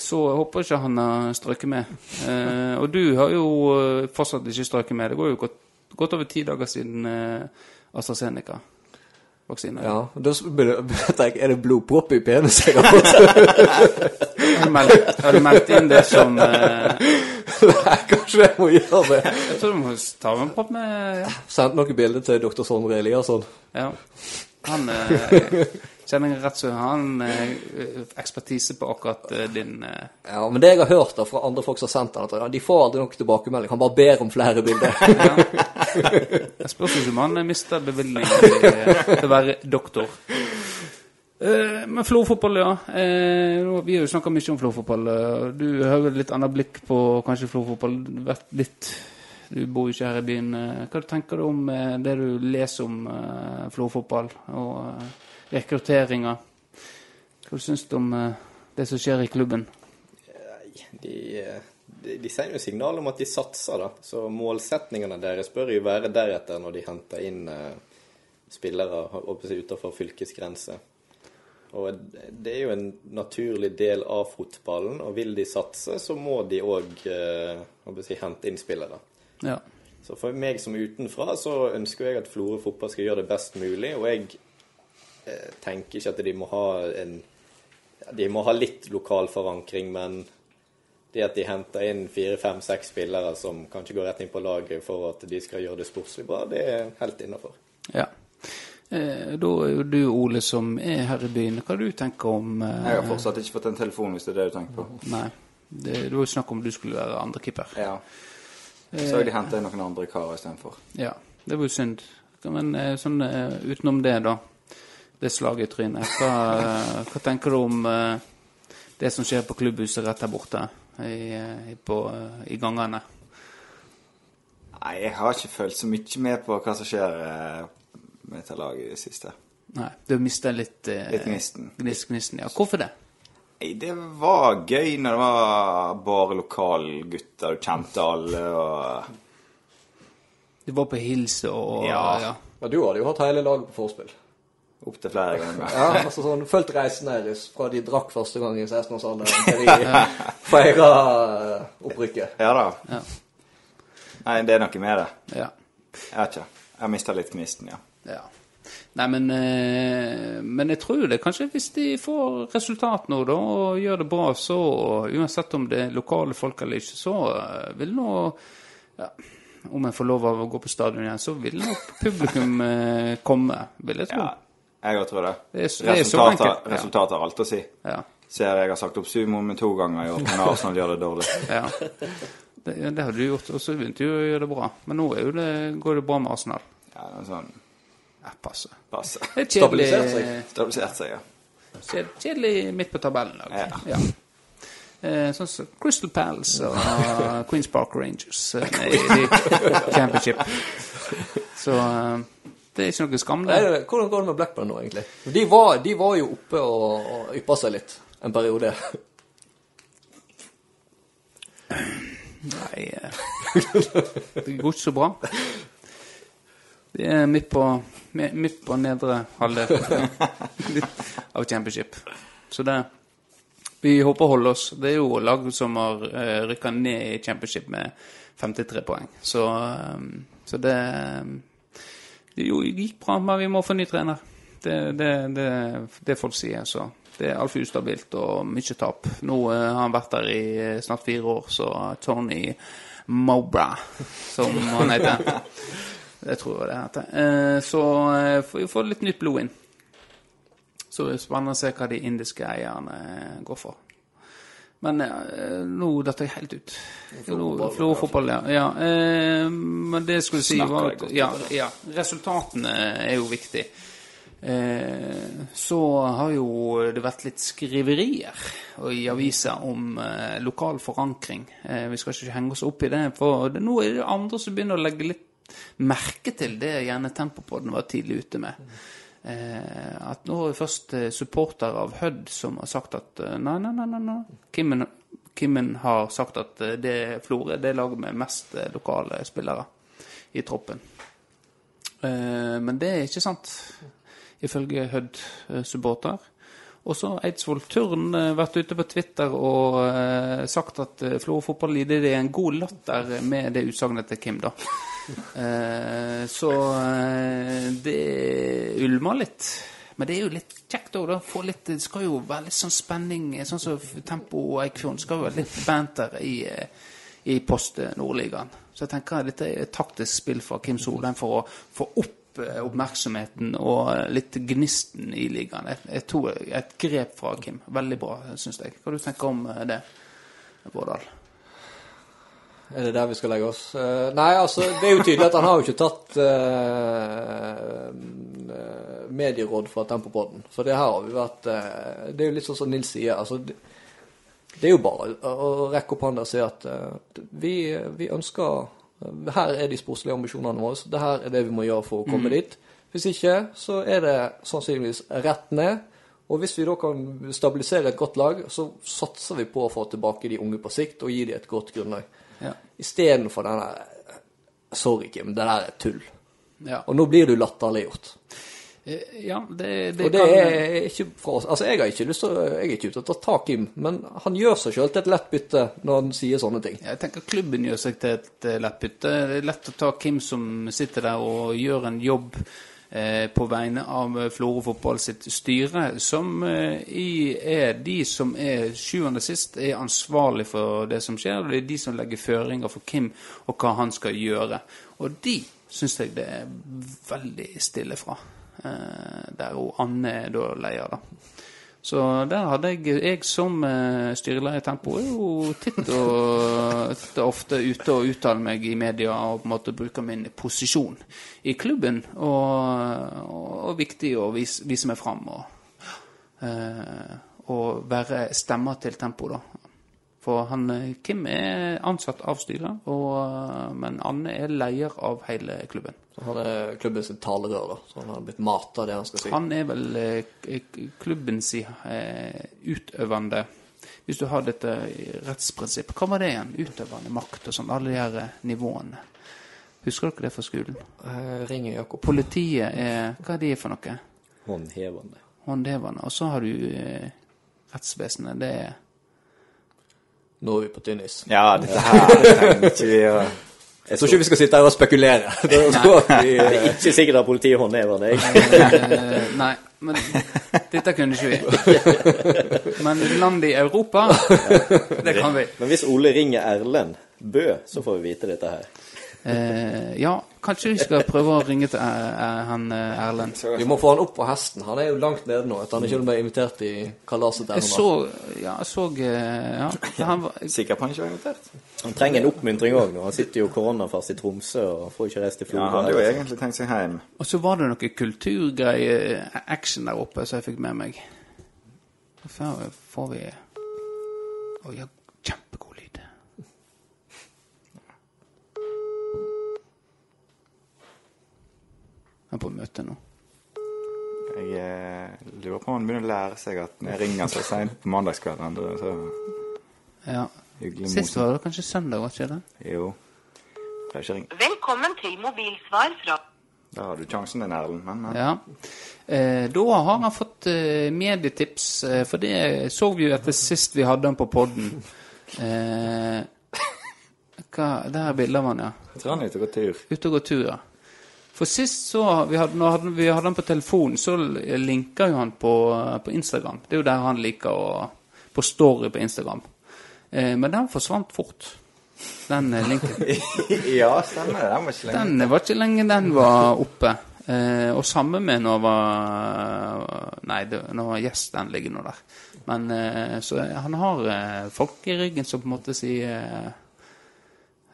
[SPEAKER 1] Så jeg håper ikke han har strøket med. Eh, og du har jo eh, fortsatt ikke strøket med. Det går jo godt, godt over ti dager siden eh, AstraZeneca-vaksinen.
[SPEAKER 2] Ja, da s- begynner- tenker jeg, er det blodpropp i penis jeg har fått?
[SPEAKER 1] Har du meldt- har du meldt inn det som eh,
[SPEAKER 2] Nei, kanskje jeg må gjøre det.
[SPEAKER 1] Jeg tror du må ta med en pop med ja.
[SPEAKER 2] Sendt noen bilder til doktor Sondre Eliasson.
[SPEAKER 1] Ja. Han eh, kjenner jeg rett så Han eh, ekspertise på akkurat eh, din eh.
[SPEAKER 2] Ja, men det jeg har hørt da fra andre folk som har sendt den, at ja, de får aldri nok tilbakemelding. Han bare ber om flere bilder.
[SPEAKER 1] Jeg spørs ikke om han eh, mister bevilgningen til, eh, til å være doktor. Eh, men florfotball, ja. Eh, nå- vi har jo snakka mye om florfotball. eh, Du har vel litt annet blikk på kanskje florfotball. Vært litt Du bor jo ikke her i byen. eh, Hva tenker du om eh, det du leser om eh, florfotball og eh, rekrutteringer? Hva syns du om eh, det som skjer i klubben?
[SPEAKER 4] De, eh, de, de sender jo signal om at de satser, da. Så målsetningene deres bør jo være deretter når de henter inn eh, spillere utenfor fylkesgrenser. Og det er jo en naturlig del av fotballen, og vil de satse, så må de eh, òg si, hente inn spillere.
[SPEAKER 1] Ja.
[SPEAKER 4] Så for meg som utenfra, så ønsker jeg at Florø fotball skal gjøre det best mulig, og jeg eh, tenker ikke at de må ha en ja, De må ha litt lokal forankring, men det at de henter inn fire, fem, seks spillere som kanskje går rett inn på laget for at de skal gjøre det sportslig bra, det er helt innafor.
[SPEAKER 1] Ja. Eh, da er jo du, Ole, som er her i byen. Hva du tenker om eh,
[SPEAKER 3] Jeg har fortsatt ikke fått en telefon, hvis det er det du tenker på.
[SPEAKER 1] Nei. Det, det var jo snakk om du skulle være andrekeeper.
[SPEAKER 3] Ja. Så har de henta inn noen andre karer istedenfor.
[SPEAKER 1] Ja. Det var jo synd. Men eh, sånn eh, utenom det, da. Det slaget i trynet. Hva, eh, hva tenker du om eh, det som skjer på klubbhuset rett der borte i, eh, på, eh, i gangene?
[SPEAKER 3] Nei, jeg har ikke følt så mye med på hva som skjer eh, med dette laget i det siste.
[SPEAKER 1] Nei, du har mista litt eh,
[SPEAKER 3] Litt gnisten.
[SPEAKER 1] gnist- gnisten. Ja, hvorfor det?
[SPEAKER 3] Nei, det var gøy når det var bare lokalgutter, du kjente alle og
[SPEAKER 1] Du var på hils og
[SPEAKER 3] Ja.
[SPEAKER 2] Men du hadde jo hatt hele laget på forspill.
[SPEAKER 3] opptil flere ganger.
[SPEAKER 2] Ja, altså sånn, Fulgt reisen deres fra de drakk første gang i 16-årsalderen til de feira opprykket.
[SPEAKER 3] Ja da.
[SPEAKER 1] Ja.
[SPEAKER 3] Nei, det er noe med det.
[SPEAKER 1] ja.
[SPEAKER 3] Jeg vet ikke. Jeg mista litt gnisten, ja.
[SPEAKER 1] Ja. Nei, men, eh, men jeg tror det. Kanskje hvis de får resultat nå, da, og gjør det bra, så Uansett om det er lokale folk eller ikke, så eh, vil nå ja, Om jeg får lov av å gå på stadion igjen, så vil nok publikum eh, komme, vil jeg tro.
[SPEAKER 3] ja. Jeg òg tror det.
[SPEAKER 1] Det er så- det er så enkelt,
[SPEAKER 3] Resultater
[SPEAKER 1] ja.
[SPEAKER 3] resultater har alt å si.
[SPEAKER 1] Ja.
[SPEAKER 3] Ser jeg har sagt opp sumoen min to ganger i år, men Arsenal gjør det dårlig.
[SPEAKER 1] ja. Det, ja, det hadde du gjort, og så begynte du å gjøre det bra. Men nå er jo det, går det bra med Arsenal.
[SPEAKER 3] Ja, det er sånn
[SPEAKER 1] Ja, passe.
[SPEAKER 3] passe.
[SPEAKER 1] Det er kjedelig,
[SPEAKER 2] Stabilisert seg.
[SPEAKER 3] Stabilisert seg, ja.
[SPEAKER 1] kjed, kjedelig midt på tabellen. i dag. Ja. Eh, sånn som Crystal Palace og eh, Queens Park Rangers eh, nei, i championship. Så eh, det er ikke noe skam,
[SPEAKER 2] Nei,
[SPEAKER 1] det.
[SPEAKER 2] det- Hvordan går det med Blackburn nå, egentlig? De var, de var jo oppe og, og yppa seg litt en periode.
[SPEAKER 1] Nei, eh, det går ikke så bra. Det er midt på, mi- midt på nedre halvdel av championship. Så det Vi håper å holde oss. Det er jo lag som har eh, rykka ned i championship med 53 poeng. Så, eh, så det Det jo gikk bra, men vi må få ny trener. Det er det, det, det folk sier, så. Det er altfor ustabilt og mye tap. Nå eh, har han vært der i eh, snart fire år, så Tony Mobra, som han heter Det tror jeg det heter. Eh, Så eh, får vi får litt nytt blod inn. Så det er spennende å se hva de indiske eierne eh, går for. Men eh, nå datt jeg helt ut. Nå- Florfotball, ja. ja. eh, Men det jeg skulle si,
[SPEAKER 3] Snakker
[SPEAKER 1] var
[SPEAKER 3] jeg
[SPEAKER 1] at
[SPEAKER 3] godt
[SPEAKER 1] ja, ja, resultatene er jo viktig. Eh, så har jo det vært litt skriverier og i aviser om eh, lokal forankring. Eh, vi skal ikke henge oss opp i det, for det, nå er det andre som begynner å legge litt merke til det gjerne Tempopodden var tidlig ute med. Eh, at nå er det først eh, supportere av Hødd som har sagt at eh, nei, nei, nei, nei, nei. Kimmen, Kimmen har sagt at eh, det Florø er det laget med mest eh, lokale spillere i troppen. Eh, men det er ikke sant, ifølge Hødd-supporter. Og så har Eidsvoll Turn eh, vært ute på Twitter og eh, sagt at eh, Florø fotball lider i en god latter med det utsagnet til Kim, da. Eh, så eh, det ulmer litt. Men det er jo litt kjekt òg, da. Få litt, det skal jo være litt sånn spenning, eh, sånn som Tempo og Eikfjorden. Skal jo være litt banter i, eh, i Post Nordligaen. Så jeg tenker at dette er et taktisk spill fra Kim Solheim for å få opp eh, oppmerksomheten og eh, litt gnisten i ligaen. Jeg, jeg tror et grep fra Kim. Veldig bra, syns jeg. Hva du tenker om eh, det, Vårdal?
[SPEAKER 2] Er det der vi skal legge oss? Eh, nei, altså, det er jo tydelig at han har jo ikke tatt eh, eh, medieråd fra Tempopodden. For det her har vi vært eh, Det er jo litt sånn som Nils sier. altså... Det, det er jo bare å å rekke opp hånda og si at eh, vi, vi ønsker Her er de sportslige ambisjonene våre. Det her er det vi må gjøre for å komme dit. Hvis ikke, så er det sannsynligvis rett ned. Og hvis vi da kan stabilisere et godt lag, så satser vi på å få tilbake de unge på sikt og gi dem et godt grunnlag.
[SPEAKER 1] Ja.
[SPEAKER 2] Istedenfor den der Sorry, Kim, det der er tull.
[SPEAKER 1] Ja,
[SPEAKER 2] Og nå blir du latterliggjort.
[SPEAKER 1] Eh, ja det, det,
[SPEAKER 2] Og det
[SPEAKER 1] kan
[SPEAKER 2] er ikke fra oss. Altså, jeg, har ikke lyst til, å- jeg er ikke ute etter å ta Kim, men han gjør seg sjøl til et lett bytte når han sier sånne ting.
[SPEAKER 1] Jeg tenker klubben gjør seg til et eh, lett bytte. Det er lett å ta Kim som sitter der og gjør en jobb eh, på vegne av eh, Florø fotball sitt styre, som eh, i, er de som er sjuende sist er ansvarlig for det som skjer. og Det er de som legger føringer for Kim og hva han skal gjøre. Og de syns jeg det er veldig stille fra. Eh, der hun Anne er da leier, da. Så der hadde jeg Jeg som eh, styreleder i Tempo er jo titt og titt og ofte ute og uttaler meg i media og på en måte bruker min posisjon i klubben. Og, og, og viktig å vise, vise meg fram. Og, eh, og være stemmer til tempo, da. For han, eh, Kim er ansatt av styret, og, eh, men Anne er leder av hele klubben.
[SPEAKER 2] Så Han er klubben sin talerør, da. Så han har blitt mata det han skal si.
[SPEAKER 1] Han er vel eh, k- k- klubben si eh, utøvende Hvis du har dette i rettsprinsippet, hva var det igjen? Utøvende makt og sånn, alle de her eh, nivåene. Husker dere det fra skolen?
[SPEAKER 2] Eh, ringer Jakob.
[SPEAKER 1] Politiet er Hva er de for noe?
[SPEAKER 4] Håndhevende.
[SPEAKER 1] Håndhevende. Og så har du eh, rettsvesenet. Det er
[SPEAKER 2] Nå er vi på tynn is.
[SPEAKER 3] Ja, dette her trenger ikke vi å
[SPEAKER 2] Jeg tror ikke vi skal sitte her og spekulere. Det er jo at vi, eh,
[SPEAKER 4] Jeg er ikke sikkert at politiet håndhever det. jeg.
[SPEAKER 1] Eh, Nei, men dette kunne ikke vi. Men land i Europa, det kan vi.
[SPEAKER 4] Men hvis Ole ringer Erlend Bø, så får vi vite dette her.
[SPEAKER 1] Eh, ja, kanskje vi skal prøve å ringe til eh, eh, han eh, Erlend.
[SPEAKER 2] vi må få han opp på hesten. Han er jo langt nede nå. At han ikke ble invitert i kalaset
[SPEAKER 1] Jeg
[SPEAKER 2] ennå.
[SPEAKER 1] så Ja, jeg så eh, ja, han var,
[SPEAKER 3] Sikker på han ikke var invitert?
[SPEAKER 4] Han trenger en oppmuntring òg nå. Han sitter jo koronafast i Tromsø og får ikke reist
[SPEAKER 3] Ja,
[SPEAKER 4] til Florø.
[SPEAKER 3] han hadde jo egentlig tenkt seg hjem.
[SPEAKER 1] Og så var det noe kulturgreie, eh, action der oppe, som jeg fikk med meg. Hvorfor får vi Å ja, kjempegod lyd. Jeg er på møte nå.
[SPEAKER 3] Jeg eh, lurer på om han begynner å lære seg at når jeg ringer så seint på mandagskvelden så
[SPEAKER 1] Ja.
[SPEAKER 3] hyggelig
[SPEAKER 1] Sist var det kanskje søndag, var ikke det?
[SPEAKER 3] Jo. Prøv ikke å ringe.
[SPEAKER 5] Velkommen til mobilsvar fra
[SPEAKER 3] Da har du sjansen din, Erlend. Men, men.
[SPEAKER 1] Ja. Eh, da har han fått eh, medietips, eh, for det så vi jo etter sist vi hadde han på podden. Eh, hva, der er bildet av han, ja.
[SPEAKER 3] Jeg tror han er ute og går tur.
[SPEAKER 1] Ute og gå tur, ja. For sist så vi hadde, når hadde, vi hadde han på telefon, så linka jo han på, eh, på Instagram. Det er jo der han liker å På story på Instagram. Eh, men den forsvant fort. Den eh, linken.
[SPEAKER 3] ja, stemmer det. Den var ikke lenge.
[SPEAKER 1] Den var ikke lenge den var oppe. Eh, og samme med når var Nei, det, når var gjest, den ligger nå der. Men eh, så han har eh, folk i ryggen som på en måte sier eh,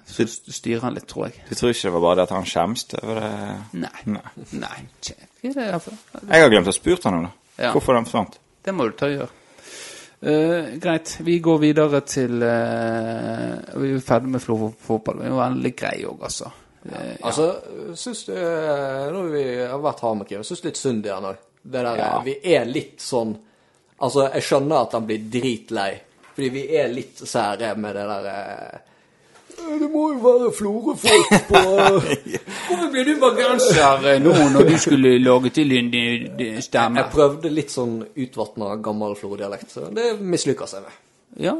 [SPEAKER 1] Så styrer han litt, tror jeg.
[SPEAKER 3] Du tror ikke det var bare det at han skjemtes over det?
[SPEAKER 1] Nei.
[SPEAKER 3] Nei.
[SPEAKER 1] Nei, tje, hva er det her for?
[SPEAKER 3] Jeg har glemt å spurt han om det.
[SPEAKER 1] Ja.
[SPEAKER 3] Hvorfor den forsvant.
[SPEAKER 1] Det må du ta og gjøre. Eh, greit, vi går videre til eh, Vi er ferdig med Flo fotball. Vi er jo veldig greie òg, altså. Eh,
[SPEAKER 2] Altså, syns du eh, Nå har vi har vært harde med Kim. Jeg Syns litt synd i han òg. Det der eh, Vi er litt sånn Altså, jeg skjønner at han blir dritlei, fordi vi er litt sære med det der eh, «Eh, Det må jo være Florø-folk på
[SPEAKER 1] Hvorfor ble du bergenser eh, nå når du skulle lage til en eh, d- stemme?
[SPEAKER 2] Jeg prøvde litt sånn utvatna, gammel Florø-dialekt. så Det mislykka seg med.
[SPEAKER 1] Ja.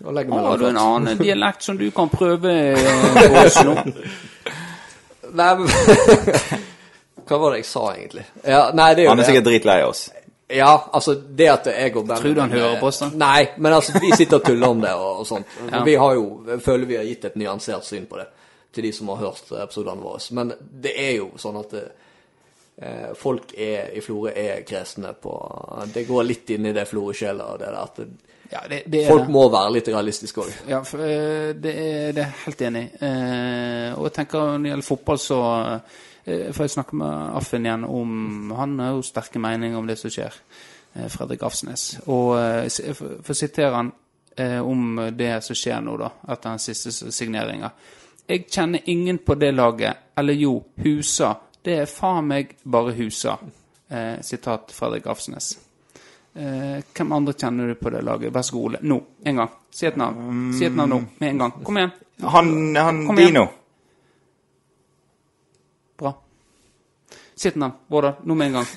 [SPEAKER 2] Å legge meg
[SPEAKER 1] Har du
[SPEAKER 2] langflat.
[SPEAKER 1] en annen øh, dialekt som du kan prøve eh, på oss nå?
[SPEAKER 2] Nei, men Hva var det jeg sa, egentlig? Ja, nei, det er jo
[SPEAKER 3] Han er
[SPEAKER 2] det.
[SPEAKER 3] sikkert dritlei oss.
[SPEAKER 2] Ja, altså det at jeg og Benjamin
[SPEAKER 1] Tror du han hører på oss da?
[SPEAKER 2] Nei, men altså, vi sitter og tuller om det og, og sånt.
[SPEAKER 1] Ja.
[SPEAKER 2] Vi har jo, føler vi har gitt et nyansert syn på det til de som har hørt episodene våre. Men det er jo sånn at eh, folk er, i Florø er kresne på Det går litt inn i det Florø-sjela og det der at
[SPEAKER 1] Ja, det, det er
[SPEAKER 2] folk
[SPEAKER 1] det.
[SPEAKER 2] må være litt realistiske òg.
[SPEAKER 1] Ja, for, eh, det er det er jeg helt enig i. Eh, Og jeg tenker når det gjelder fotball, så eh, får jeg snakke med Affen igjen om Han har jo sterke meninger om det som skjer. eh, Fredrik Afsnes. Og eh, s- eh, for for å sitere han eh, om det som skjer nå, da, etter den siste s- signeringen. Jeg kjenner ingen på det laget. Eller jo, Husa. Det er faen meg bare Husa. Eh, Sitat Fredrik Afsnes. Eh, hvem andre kjenner du på det laget? Vær så god, Ole. Nå. En gang. Si et navn. Si et navn nå. Med en gang. Kom igjen.
[SPEAKER 3] Han, han
[SPEAKER 1] Kom igjen.
[SPEAKER 3] Dino.
[SPEAKER 1] Bra. Si et navn. Vårdal. Nå med en gang.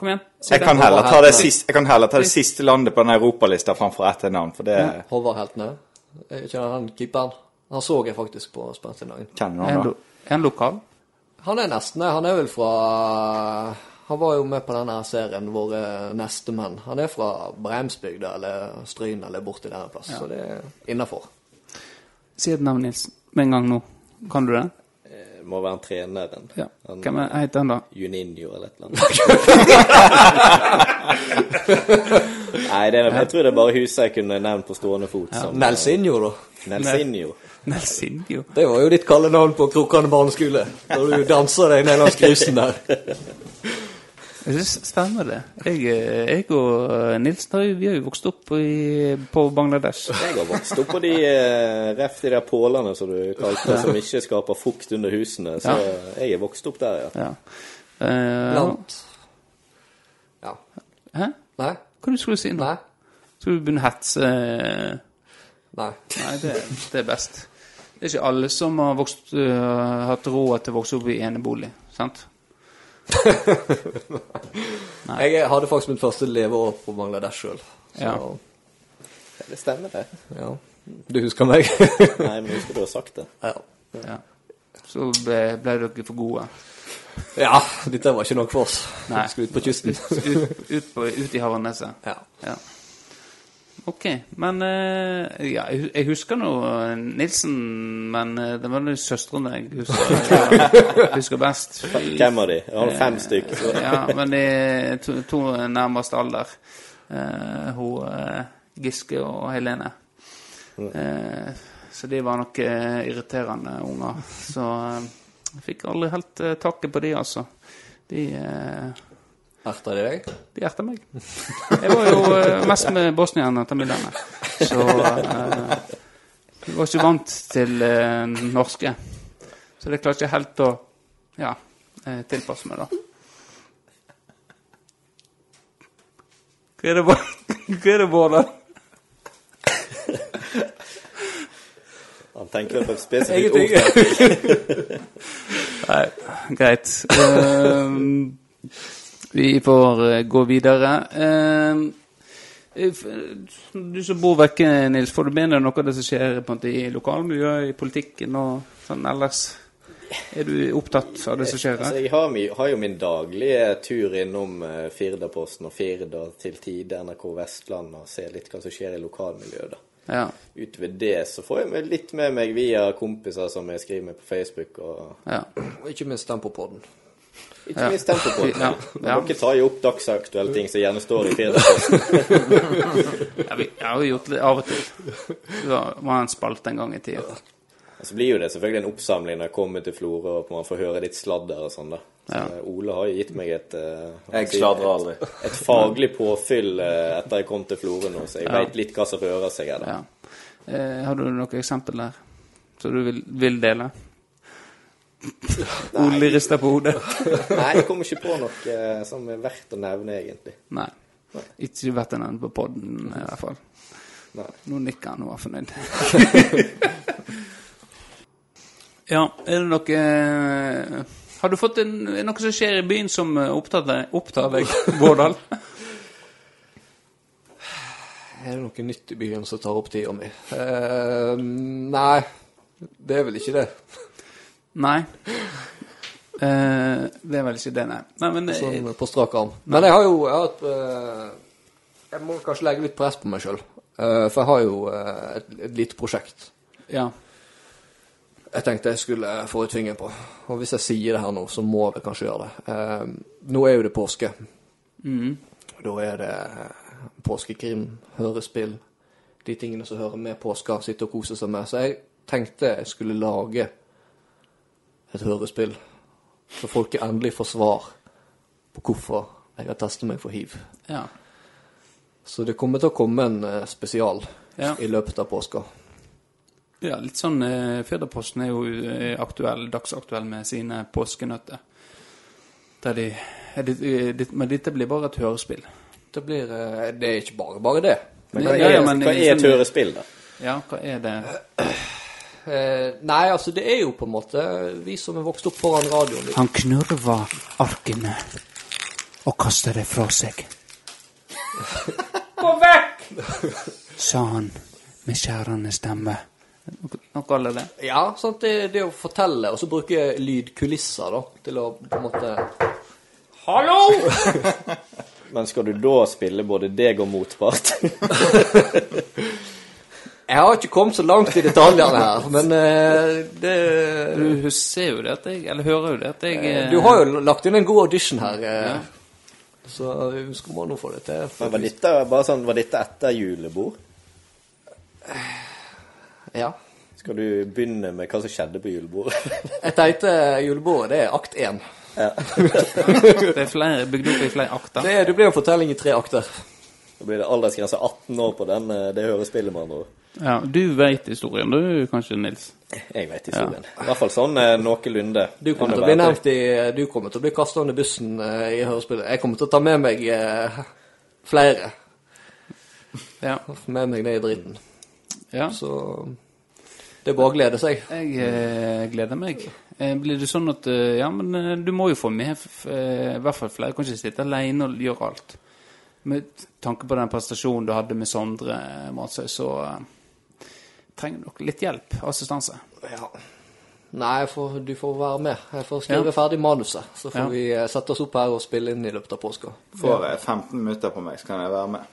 [SPEAKER 1] Kom igjen. Si
[SPEAKER 3] Jeg
[SPEAKER 1] det.
[SPEAKER 3] kan heller ta det siste, jeg kan heller ta det siste landet på den europalista framfor ett navn, for det
[SPEAKER 2] Håvard Heltene. Jeg kjenner han keeperen. Han så jeg faktisk på Spensingdagen.
[SPEAKER 3] kjenner
[SPEAKER 1] Er han
[SPEAKER 3] han da.
[SPEAKER 1] lo- er han lokal?
[SPEAKER 2] Han er nesten det. Han er vel fra Han var jo med på denne her serien Våre nestemenn. Han er fra Breimsbygda eller Stryn eller borti der en plass, så det er innafor.
[SPEAKER 1] Si et navn, Nils. Med en gang nå. Kan du det?
[SPEAKER 4] Det Eh, må være en treneren.
[SPEAKER 1] Ja.
[SPEAKER 4] Han-
[SPEAKER 1] Hvem er- heter han da?
[SPEAKER 4] Juninho eller et eller annet. Nei, det er, jeg tror det er bare huset jeg kunne nevnt på stående fot. Som eh,
[SPEAKER 2] Nelsinho, da.
[SPEAKER 4] Nelsinho.
[SPEAKER 1] Nelsindio.
[SPEAKER 2] Det var jo ditt kallenavn på Krokkane barneskole, når du danser deg ned langs grusen der.
[SPEAKER 1] Det stemmer, det. Jeg, eh, jeg og Nilsen har jo, vi har jo vokst opp i, på Bangladesh.
[SPEAKER 4] Jeg har vokst opp på de eh, ref de der pålene som du kalte det, som ikke skaper fukt under husene. Så jeg er vokst opp der, ja.
[SPEAKER 1] Ja. Eh,
[SPEAKER 2] Blant Ja.
[SPEAKER 1] Hæ?
[SPEAKER 2] Nei?
[SPEAKER 1] Hva du skulle du si nå?
[SPEAKER 2] Nei?
[SPEAKER 1] Skal du begynne å hetse? eh,
[SPEAKER 2] Nei.
[SPEAKER 1] Nei, det, det er best. Det er ikke alle som har vokst, eh, hatt råd til å vokse opp i enebolig. sant?
[SPEAKER 2] Jeg hadde faktisk mitt første leveår på Bangladesh sjøl.
[SPEAKER 1] Ja.
[SPEAKER 4] Ja, Det stemmer, det.
[SPEAKER 2] ja. Du husker meg?
[SPEAKER 4] Nei, men husker du har sagt det.
[SPEAKER 2] ja.
[SPEAKER 1] Ja. Så ble, ble dere for gode.
[SPEAKER 2] ja. Dette var ikke nok for oss.
[SPEAKER 1] Nei.
[SPEAKER 2] Vi skulle ut på kysten.
[SPEAKER 1] Ut, ut, på, ut i Havaneset.
[SPEAKER 2] ja.
[SPEAKER 1] Ja. OK. Men eh, ja, jeg hu- jeg husker nå eh, Nilsen, men eh, det var nå søstrene jeg husker, husker best.
[SPEAKER 4] Hvem av de? Jeg har
[SPEAKER 1] Eh.
[SPEAKER 4] fem stykk. Så.
[SPEAKER 1] Ja, men de to, to nærmest alder. Eh, hun eh, Giske og Helene. Eh, så de var nok eh, irriterende unger. Så eh, jeg fikk aldri helt eh, taket på de, altså. De eh,
[SPEAKER 2] Erta de deg?
[SPEAKER 1] de hjertet meg. Jeg var jo eh, mest med Bosnia etter middagene. Så eh, jeg var ikke vant til eh, norske. Så det klarte jeg ikke helt å ja, eh, tilpasse meg, da. Hva er det, Bård? Hva er det, Bård? da?
[SPEAKER 4] Han tenker vel på et spesifikt ord.
[SPEAKER 2] Ingenting.
[SPEAKER 1] Greit. Ehm, vi får eh, gå videre. Ehm, if- eh, du som bor vekke, Nils, får du med deg noe av det som skjer på en måte, i lokalmiljøet, i politikken og sånn ellers? Er du opptatt av det som skjer
[SPEAKER 4] Altså,
[SPEAKER 1] her?
[SPEAKER 4] jeg har, mi- har jo min daglige tur innom eh, Firdaposten og Firda til tide NRK Vestland og ser litt hva som skjer i lokalmiljøet, da.
[SPEAKER 1] Ja.
[SPEAKER 4] Utover det så får jeg med- litt med meg via kompiser som jeg skriver med på Facebook, og
[SPEAKER 1] ja.
[SPEAKER 2] Og ikke minst Tempopodden.
[SPEAKER 4] ikke minst tempo på.
[SPEAKER 1] Ja, ja.
[SPEAKER 4] Dere tar jo opp dagsaktuelle ting som gjerne står i Firdaposten.
[SPEAKER 1] ja vi jeg har jo gjort det av og til. Det var var en spalte en gang i tida.
[SPEAKER 4] Og Så blir jo Altså, det selvfølgelig en oppsamling når jeg kommer til Florø og man får høre litt sladder og sånn, da. Så
[SPEAKER 1] Ja.
[SPEAKER 4] eh, Ole har jo gitt meg et eh,
[SPEAKER 6] Jeg
[SPEAKER 4] si-
[SPEAKER 6] sladrer aldri.
[SPEAKER 4] Et faglig påfyll eh, etter jeg kom til Florø nå, så jeg vet veit litt hva som rører seg her. da.
[SPEAKER 1] Ja. Eh, har du noe eksempel der som du vil, vil dele? Ole rister på hodet.
[SPEAKER 4] Nei, jeg kommer ikke på noe eh, som er verdt å nevne, egentlig.
[SPEAKER 1] Nei. Ikke vært en annen på podden, i hvert fall.
[SPEAKER 4] Nei.
[SPEAKER 1] Nå nikker han og er fornøyd. ja, er det noe eh, Har du fått en, er det noe som skjer i byen som eh, opptar deg, opptar deg Vårdal?
[SPEAKER 2] Er det noe nytt i byen som tar opp tida mi? Eh, nei, det er vel ikke det.
[SPEAKER 1] Nei. Eh, det er vel ikke det, nei. nei men, eh,
[SPEAKER 2] Sånn på strak arm. Men jeg har jo jeg, har, et, eh, jeg må kanskje legge litt press på meg sjøl. for jeg har jo eh, et, et lite prosjekt
[SPEAKER 1] ja.
[SPEAKER 2] jeg tenkte jeg skulle få ut fingeren på. Og hvis jeg sier det her nå, så må jeg kanskje gjøre det. Eh, nå er jo det påske. Mm. Da er det eh, påskekrim, hørespill, de tingene som hører med påska, sitte og kose seg med. Så jeg tenkte jeg skulle lage et hørespill, så folk endelig får svar på hvorfor jeg har testet meg for hiv.
[SPEAKER 1] ja.
[SPEAKER 2] Så det kommer til å komme en eh, spesial
[SPEAKER 1] Ja.
[SPEAKER 2] i løpet av påska.
[SPEAKER 1] Ja, litt sånn eh, Firdaposten er jo eh, aktuell, dagsaktuell med sine påskenøtter. Der de, er det, eh, det, men dette blir bare et hørespill.
[SPEAKER 2] Det blir eh, Det er ikke bare bare det.
[SPEAKER 4] Men hva
[SPEAKER 1] Ja,
[SPEAKER 4] er,
[SPEAKER 1] ja, men
[SPEAKER 4] hva
[SPEAKER 1] i
[SPEAKER 4] er et
[SPEAKER 1] sånn-
[SPEAKER 4] hørespill, da?
[SPEAKER 1] Ja, hva er det
[SPEAKER 2] Eh, nei, altså det er jo på en måte vi som er vokst opp foran radioen.
[SPEAKER 1] Han knurva arkene og kasta det fra seg. Gå vekk! sa han med skjærende stemme. Noe kaller det.
[SPEAKER 2] Ja, sant? Det, det å fortelle, og så bruke lydkulisser da, til å på en måte
[SPEAKER 1] Hallo!
[SPEAKER 4] Men skal du da spille både deg og motpart?
[SPEAKER 2] Jeg har ikke kommet så langt i detaljene her, men eh, det
[SPEAKER 1] Du ser jo det at jeg Eller hører jo det at jeg eh,
[SPEAKER 2] Du har jo lagt inn en god audition her, eh, så vi skal må nå få det til.
[SPEAKER 4] Men var dette, bare sånn, var dette etter julebord?
[SPEAKER 2] Ja.
[SPEAKER 4] Skal du begynne med hva som skjedde på julebordet?
[SPEAKER 2] Jeg tenkte julebordet, eh, det er akt én.
[SPEAKER 1] Det er flere, bygd opp i flere akter.
[SPEAKER 2] Det, er- det blir en fortelling i tre akter.
[SPEAKER 4] Da blir det aldersgrense 18 år på den, eh, det hørespillet, med andre ord.
[SPEAKER 1] Ja, du vet historien, du kanskje, Nils?
[SPEAKER 4] Jeg vet historien. I hvert fall sånn eh, noenlunde.
[SPEAKER 2] Du
[SPEAKER 4] Kan
[SPEAKER 2] kommer til
[SPEAKER 4] det
[SPEAKER 2] å bli
[SPEAKER 4] være
[SPEAKER 2] nevnt i Du kommer til å bli kasta under bussen eh, i hørespillet. Jeg kommer til å ta med meg eh, flere.
[SPEAKER 1] Ja.
[SPEAKER 2] Med meg ned i dritten.
[SPEAKER 1] ja.
[SPEAKER 2] Så det er bare å glede seg.
[SPEAKER 1] Jeg eh, gleder meg. Eh, blir det sånn at eh, Ja, men eh, du må jo få med f- eh, i hvert fall flere. Du kan ikke sitte alene og gjøre alt. Med tanke på den prestasjonen du hadde med Sondre eh, Matsøy, så eh, trenger du nok litt hjelp. Assistanse.
[SPEAKER 2] Ja. Nei, jeg får, du får være med. Jeg får skrive
[SPEAKER 1] Ja.
[SPEAKER 2] ferdig manuset. Så får
[SPEAKER 1] Ja.
[SPEAKER 2] vi eh, sette oss opp her og spille inn i løpet av påska.
[SPEAKER 3] Får jeg 15 minutter på meg, så kan jeg være med.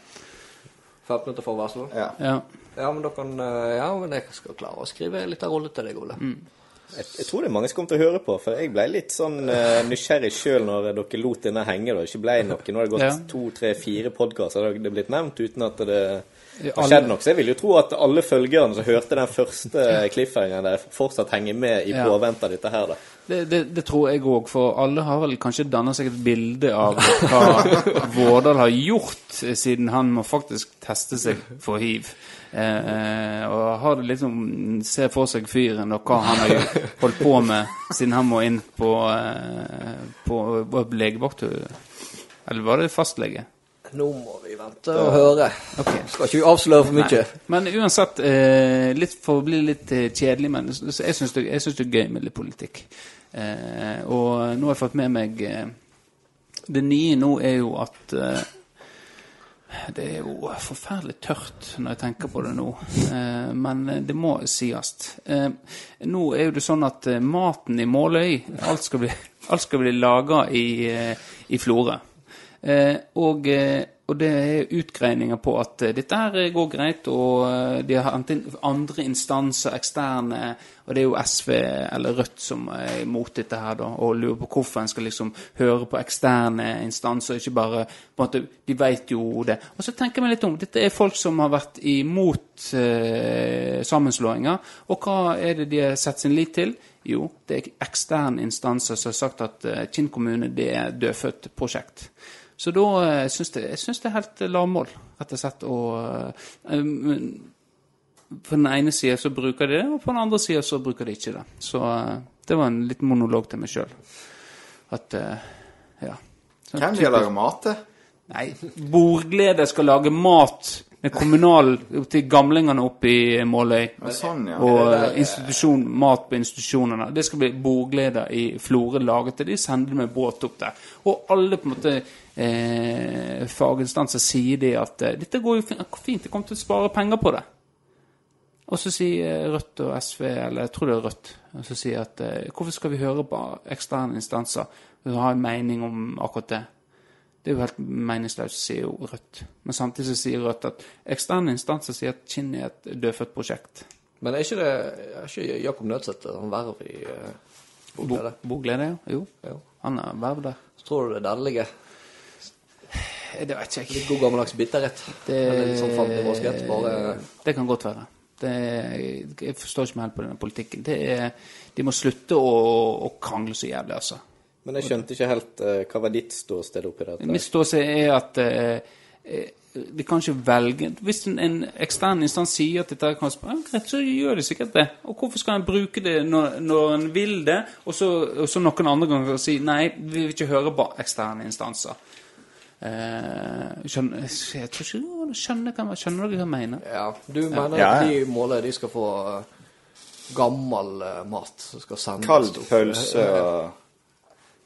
[SPEAKER 2] 15 minutter for hver sånn.
[SPEAKER 3] Ja.
[SPEAKER 1] Ja.
[SPEAKER 2] Ja, men da kan eh, Ja, men jeg skal klare å skrive en liten rolle til deg, Ole.
[SPEAKER 1] Mm.
[SPEAKER 4] Jeg, jeg tror det er mange som kommer til å høre på, for jeg ble litt sånn eh, nysgjerrig sjøl når dere lot denne henge. Da. Ikke ble noe. Nå har det gått
[SPEAKER 1] Ja.
[SPEAKER 4] to, tre, fire podkaster, det er blitt nevnt uten at det
[SPEAKER 1] Ja,
[SPEAKER 4] har
[SPEAKER 1] alle-
[SPEAKER 4] skjedd noe. Så jeg vil jo tro at alle følgerne som hørte den første cliffhangeren der, fortsatt henger med i
[SPEAKER 1] Ja.
[SPEAKER 4] påvente av dette her, da.
[SPEAKER 1] Det, det, det tror jeg òg, for alle har vel kanskje danna seg et bilde av hva Vårdal har gjort, eh, siden han må faktisk teste seg for hiv. Eh, eh, og har det liksom ser for seg fyren og hva han har gjort- holdt på med, siden han må inn på, eh, på, på legevaktur. Eller var det fastlege?
[SPEAKER 2] Nå må vi vente og høre.
[SPEAKER 1] Ok.
[SPEAKER 2] Skal ikke vi avsløre for mye?
[SPEAKER 1] Men uansett, eh, litt for å bli litt eh, kjedelig, men s- s- jeg syns det, jeg syns det er gøy med litt politikk. Eh, og nå har jeg fått med meg eh, Det nye nå er jo at eh, Det er jo forferdelig tørt når jeg tenker på det nå, eh, men eh, det må sies. Eh, nå er jo det sånn at eh, maten i Måløy Alt skal bli, alt skal bli laga i, eh, i Florø. Eh, og, eh, og det er utgreininger på at eh, dette her går greit, og eh, de har hentet inn andre instanser, eksterne, og det er jo SV eller Rødt som er imot dette her, da, og lurer på hvorfor en skal liksom høre på eksterne instanser, ikke bare på en måte, De vet jo det. Og så tenker jeg meg litt om. Dette er folk som har vært imot eh, sammenslåinger, og hva er det de har sett sin lit til? Jo, det er eksterne instanser som har sagt at eh, Kinn kommune det er dødfødt prosjekt. Så da eh, syns jeg, jeg syns det er helt eh, lavmål, rett og slett, å eh, um, På den ene sida så bruker de det, og på den andre sida så bruker de ikke det. Så eh, det var en liten monolog til meg sjøl. At eh, Ja. Sånn
[SPEAKER 3] Hvem vil lage mat til?
[SPEAKER 1] Nei, Bordglede skal lage mat med kommunal til gamlingene oppe i Måløy.
[SPEAKER 3] Ja, Sånn, ja.
[SPEAKER 1] Og eh, institusjon, mat på institusjonene. Det skal bli bordgleder i Florø laget til. De sender det med båt opp der. Og alle på en måte eh, faginstanser sier det at eh, dette går jo fin- fint, de kommer til å spare penger på det. Og så sier eh, Rødt og SV, eller jeg tror det er Rødt, og så sier at eh, hvorfor skal vi høre på eksterne instanser og ha en mening om akkurat det? Det er jo helt meningsløst, sier jo Rødt. Men samtidig så sier Rødt at eksterne instanser sier at Kinn er et dødfødt prosjekt.
[SPEAKER 2] Men er ikke det er ikke Jakob Nødsæter han verv i uh,
[SPEAKER 1] Bo, Boglede, ja. Jo.
[SPEAKER 2] Ja.
[SPEAKER 1] Han er verv der.
[SPEAKER 2] Så tror du det er der det ligger?
[SPEAKER 1] Eh, Det vet ikke
[SPEAKER 2] Litt god gammeldags bitterhet?
[SPEAKER 1] Det,
[SPEAKER 2] Eller litt sånn fantevåskhet? Bare
[SPEAKER 1] Eh, det kan godt være. Det, jeg forstår ikke meg helt på denne politikken. Det er, de må slutte å, å krangle så jævlig, altså.
[SPEAKER 4] Men jeg skjønte ikke helt eh, hva var ditt ståsted oppi dette.
[SPEAKER 1] Mitt ståsted er at eh, eh, de kan ikke velge Hvis en, en ekstern instans sier at dette kan spare, ja, greit, så gjør de sikkert det. Og hvorfor skal en bruke det når, når en vil det, og så, og så noen andre ganger si nei, vi vil ikke høre på eksterne instanser? Eh, skjønner, jeg tror ikke du skjønner hva, skjønner dere hva jeg mener.
[SPEAKER 2] Ja, du mener
[SPEAKER 3] Ja,
[SPEAKER 2] at
[SPEAKER 3] ja.
[SPEAKER 2] de måler de skal få eh, gammel eh, mat som skal sendes
[SPEAKER 3] Kald
[SPEAKER 2] opp.
[SPEAKER 3] pølse og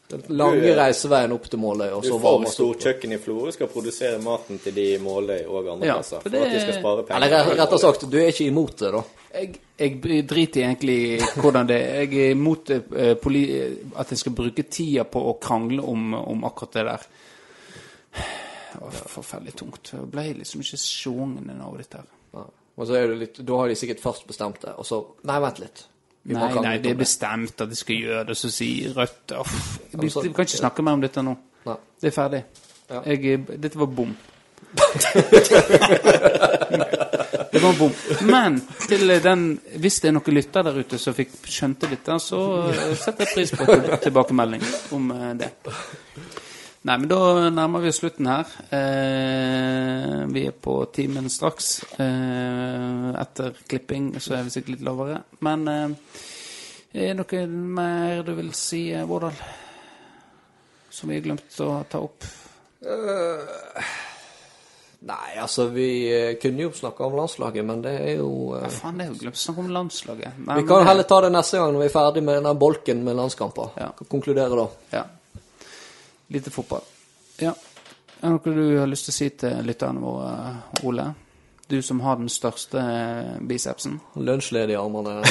[SPEAKER 2] Den lange reiseveien opp til Måløy, og
[SPEAKER 4] Du
[SPEAKER 2] så varm
[SPEAKER 4] får
[SPEAKER 2] og
[SPEAKER 4] stort kjøkken i Florø, skal produsere maten til de i Måløy og andre
[SPEAKER 1] Ja,
[SPEAKER 4] plasser.
[SPEAKER 1] for
[SPEAKER 4] For,
[SPEAKER 1] det-
[SPEAKER 4] at de skal spare penger.
[SPEAKER 2] Eller re- rettere sagt, du er ikke imot det, da.
[SPEAKER 1] Jeg, jeg driter egentlig i hvordan det er. Jeg er imot eh, poli at jeg skal bruke tida på å krangle om, om akkurat det der. Det var forferdelig tungt. Jeg ble liksom ikke sjungen av dette her.
[SPEAKER 2] Ja. Og så er det litt, Da har de sikkert først bestemt det, og så Nei, vent litt. Vi må
[SPEAKER 1] Nei,
[SPEAKER 2] krangle
[SPEAKER 1] nei,
[SPEAKER 2] litt
[SPEAKER 1] det
[SPEAKER 2] om
[SPEAKER 1] er bestemt at jeg skal gjøre det, så sier Rødt Uff. Vi,
[SPEAKER 2] men så-
[SPEAKER 1] vi kan ikke snakke mer om dette nå.
[SPEAKER 2] Nei.
[SPEAKER 1] Det er ferdig. eh,
[SPEAKER 2] Ja.
[SPEAKER 1] Jeg, dette var bom. Det var en bom. Men til eh, den, hvis det er noen lytter der ute som fikk skjønte dette, så eh, setter jeg pris på til- tilbakemelding om eh, det. Nei, men da nærmer vi oss slutten her. Eh, vi er på timen straks. Eh, etter klipping så er vi sikkert litt lavere. Men eh, er det noe mer du vil si, eh, Vårdal? Som vi har glemt å ta opp?
[SPEAKER 2] Nei, altså, vi eh, kunne jo snakka om landslaget, men det er jo eh,
[SPEAKER 1] Faen, det er jo glemt å snakke om landslaget. Nei,
[SPEAKER 2] Vi
[SPEAKER 1] men-
[SPEAKER 2] kan heller ta det neste gang når vi er ferdig med denne bolken med landskamper.
[SPEAKER 1] Ja.
[SPEAKER 2] Konkludere da.
[SPEAKER 1] Ja. Lite fotball. Ja. Er det noe du har lyst til å si til lytterne våre, Ole? Du som har den største eh, bicepsen.
[SPEAKER 2] Lunsjledig i armene. er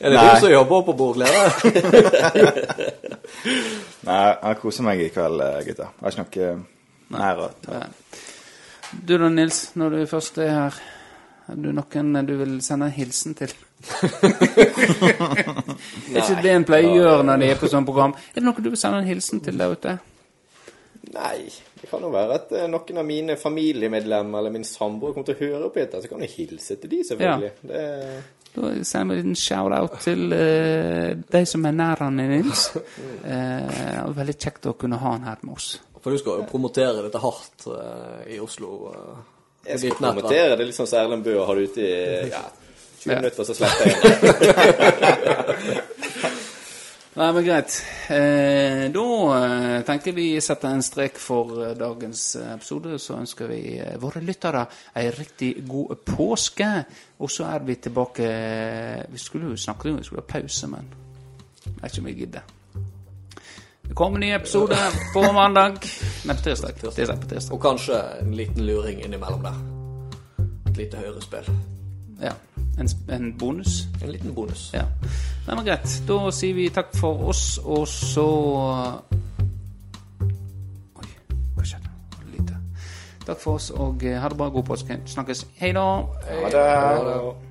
[SPEAKER 2] det
[SPEAKER 3] Nei.
[SPEAKER 2] du som jobber på bordglede?
[SPEAKER 3] Nei, jeg koser meg i kveld, eh, gutter. Jeg har ikke noe nær å ta.
[SPEAKER 1] Du da, Nils, når du først er her, er du noen eh, du vil sende en hilsen til? er ikke det en pleier å gjøre når de er på sånn program? Er det noe du vil sende en hilsen til der ute?
[SPEAKER 4] Nei. Det kan jo være at eh, noen av mine familiemedlemmer eller min samboer kommer til å høre på dette. Så kan jeg hilse til de, selvfølgelig. Det,
[SPEAKER 1] Da sender vi en shout-out til eh, de som er nær han Nils. Eh, og veldig kjekt å kunne ha han her med oss.
[SPEAKER 2] For du skal jo promotere dette hardt eh, i Oslo. eh,
[SPEAKER 4] jeg
[SPEAKER 2] i
[SPEAKER 4] skal
[SPEAKER 2] ditt nettverk.
[SPEAKER 4] kommentere det litt sånn som Erlend Bøe har det ute i ja, 20
[SPEAKER 1] Ja.
[SPEAKER 4] minutter, så sletter jeg det.
[SPEAKER 1] Nei, men greit. Eh, da eh, tenker vi setter en strek for eh, dagens eh, episode. Så ønsker vi eh, våre lyttere ei riktig god påske. Og så er vi tilbake eh, Vi skulle jo snakke om vi skulle ha pause, men jeg vet ikke om jeg gidder. Det kommer en ny episode på mandag. Nei, på tirsdag. tirsdag, på tirsdag.
[SPEAKER 2] Og kanskje en liten luring innimellom der. Et lite høyrespill.
[SPEAKER 1] Ja. En, sp- en bonus.
[SPEAKER 2] En liten bonus.
[SPEAKER 1] Ja. Nei, men greit. Da sier vi takk for oss, og så eh, Oi, hva skjedde? Var det lite? Takk for oss, og eh, ha det bra. God påske. Snakkes. Hei da.
[SPEAKER 3] Ha det.
[SPEAKER 4] Ja.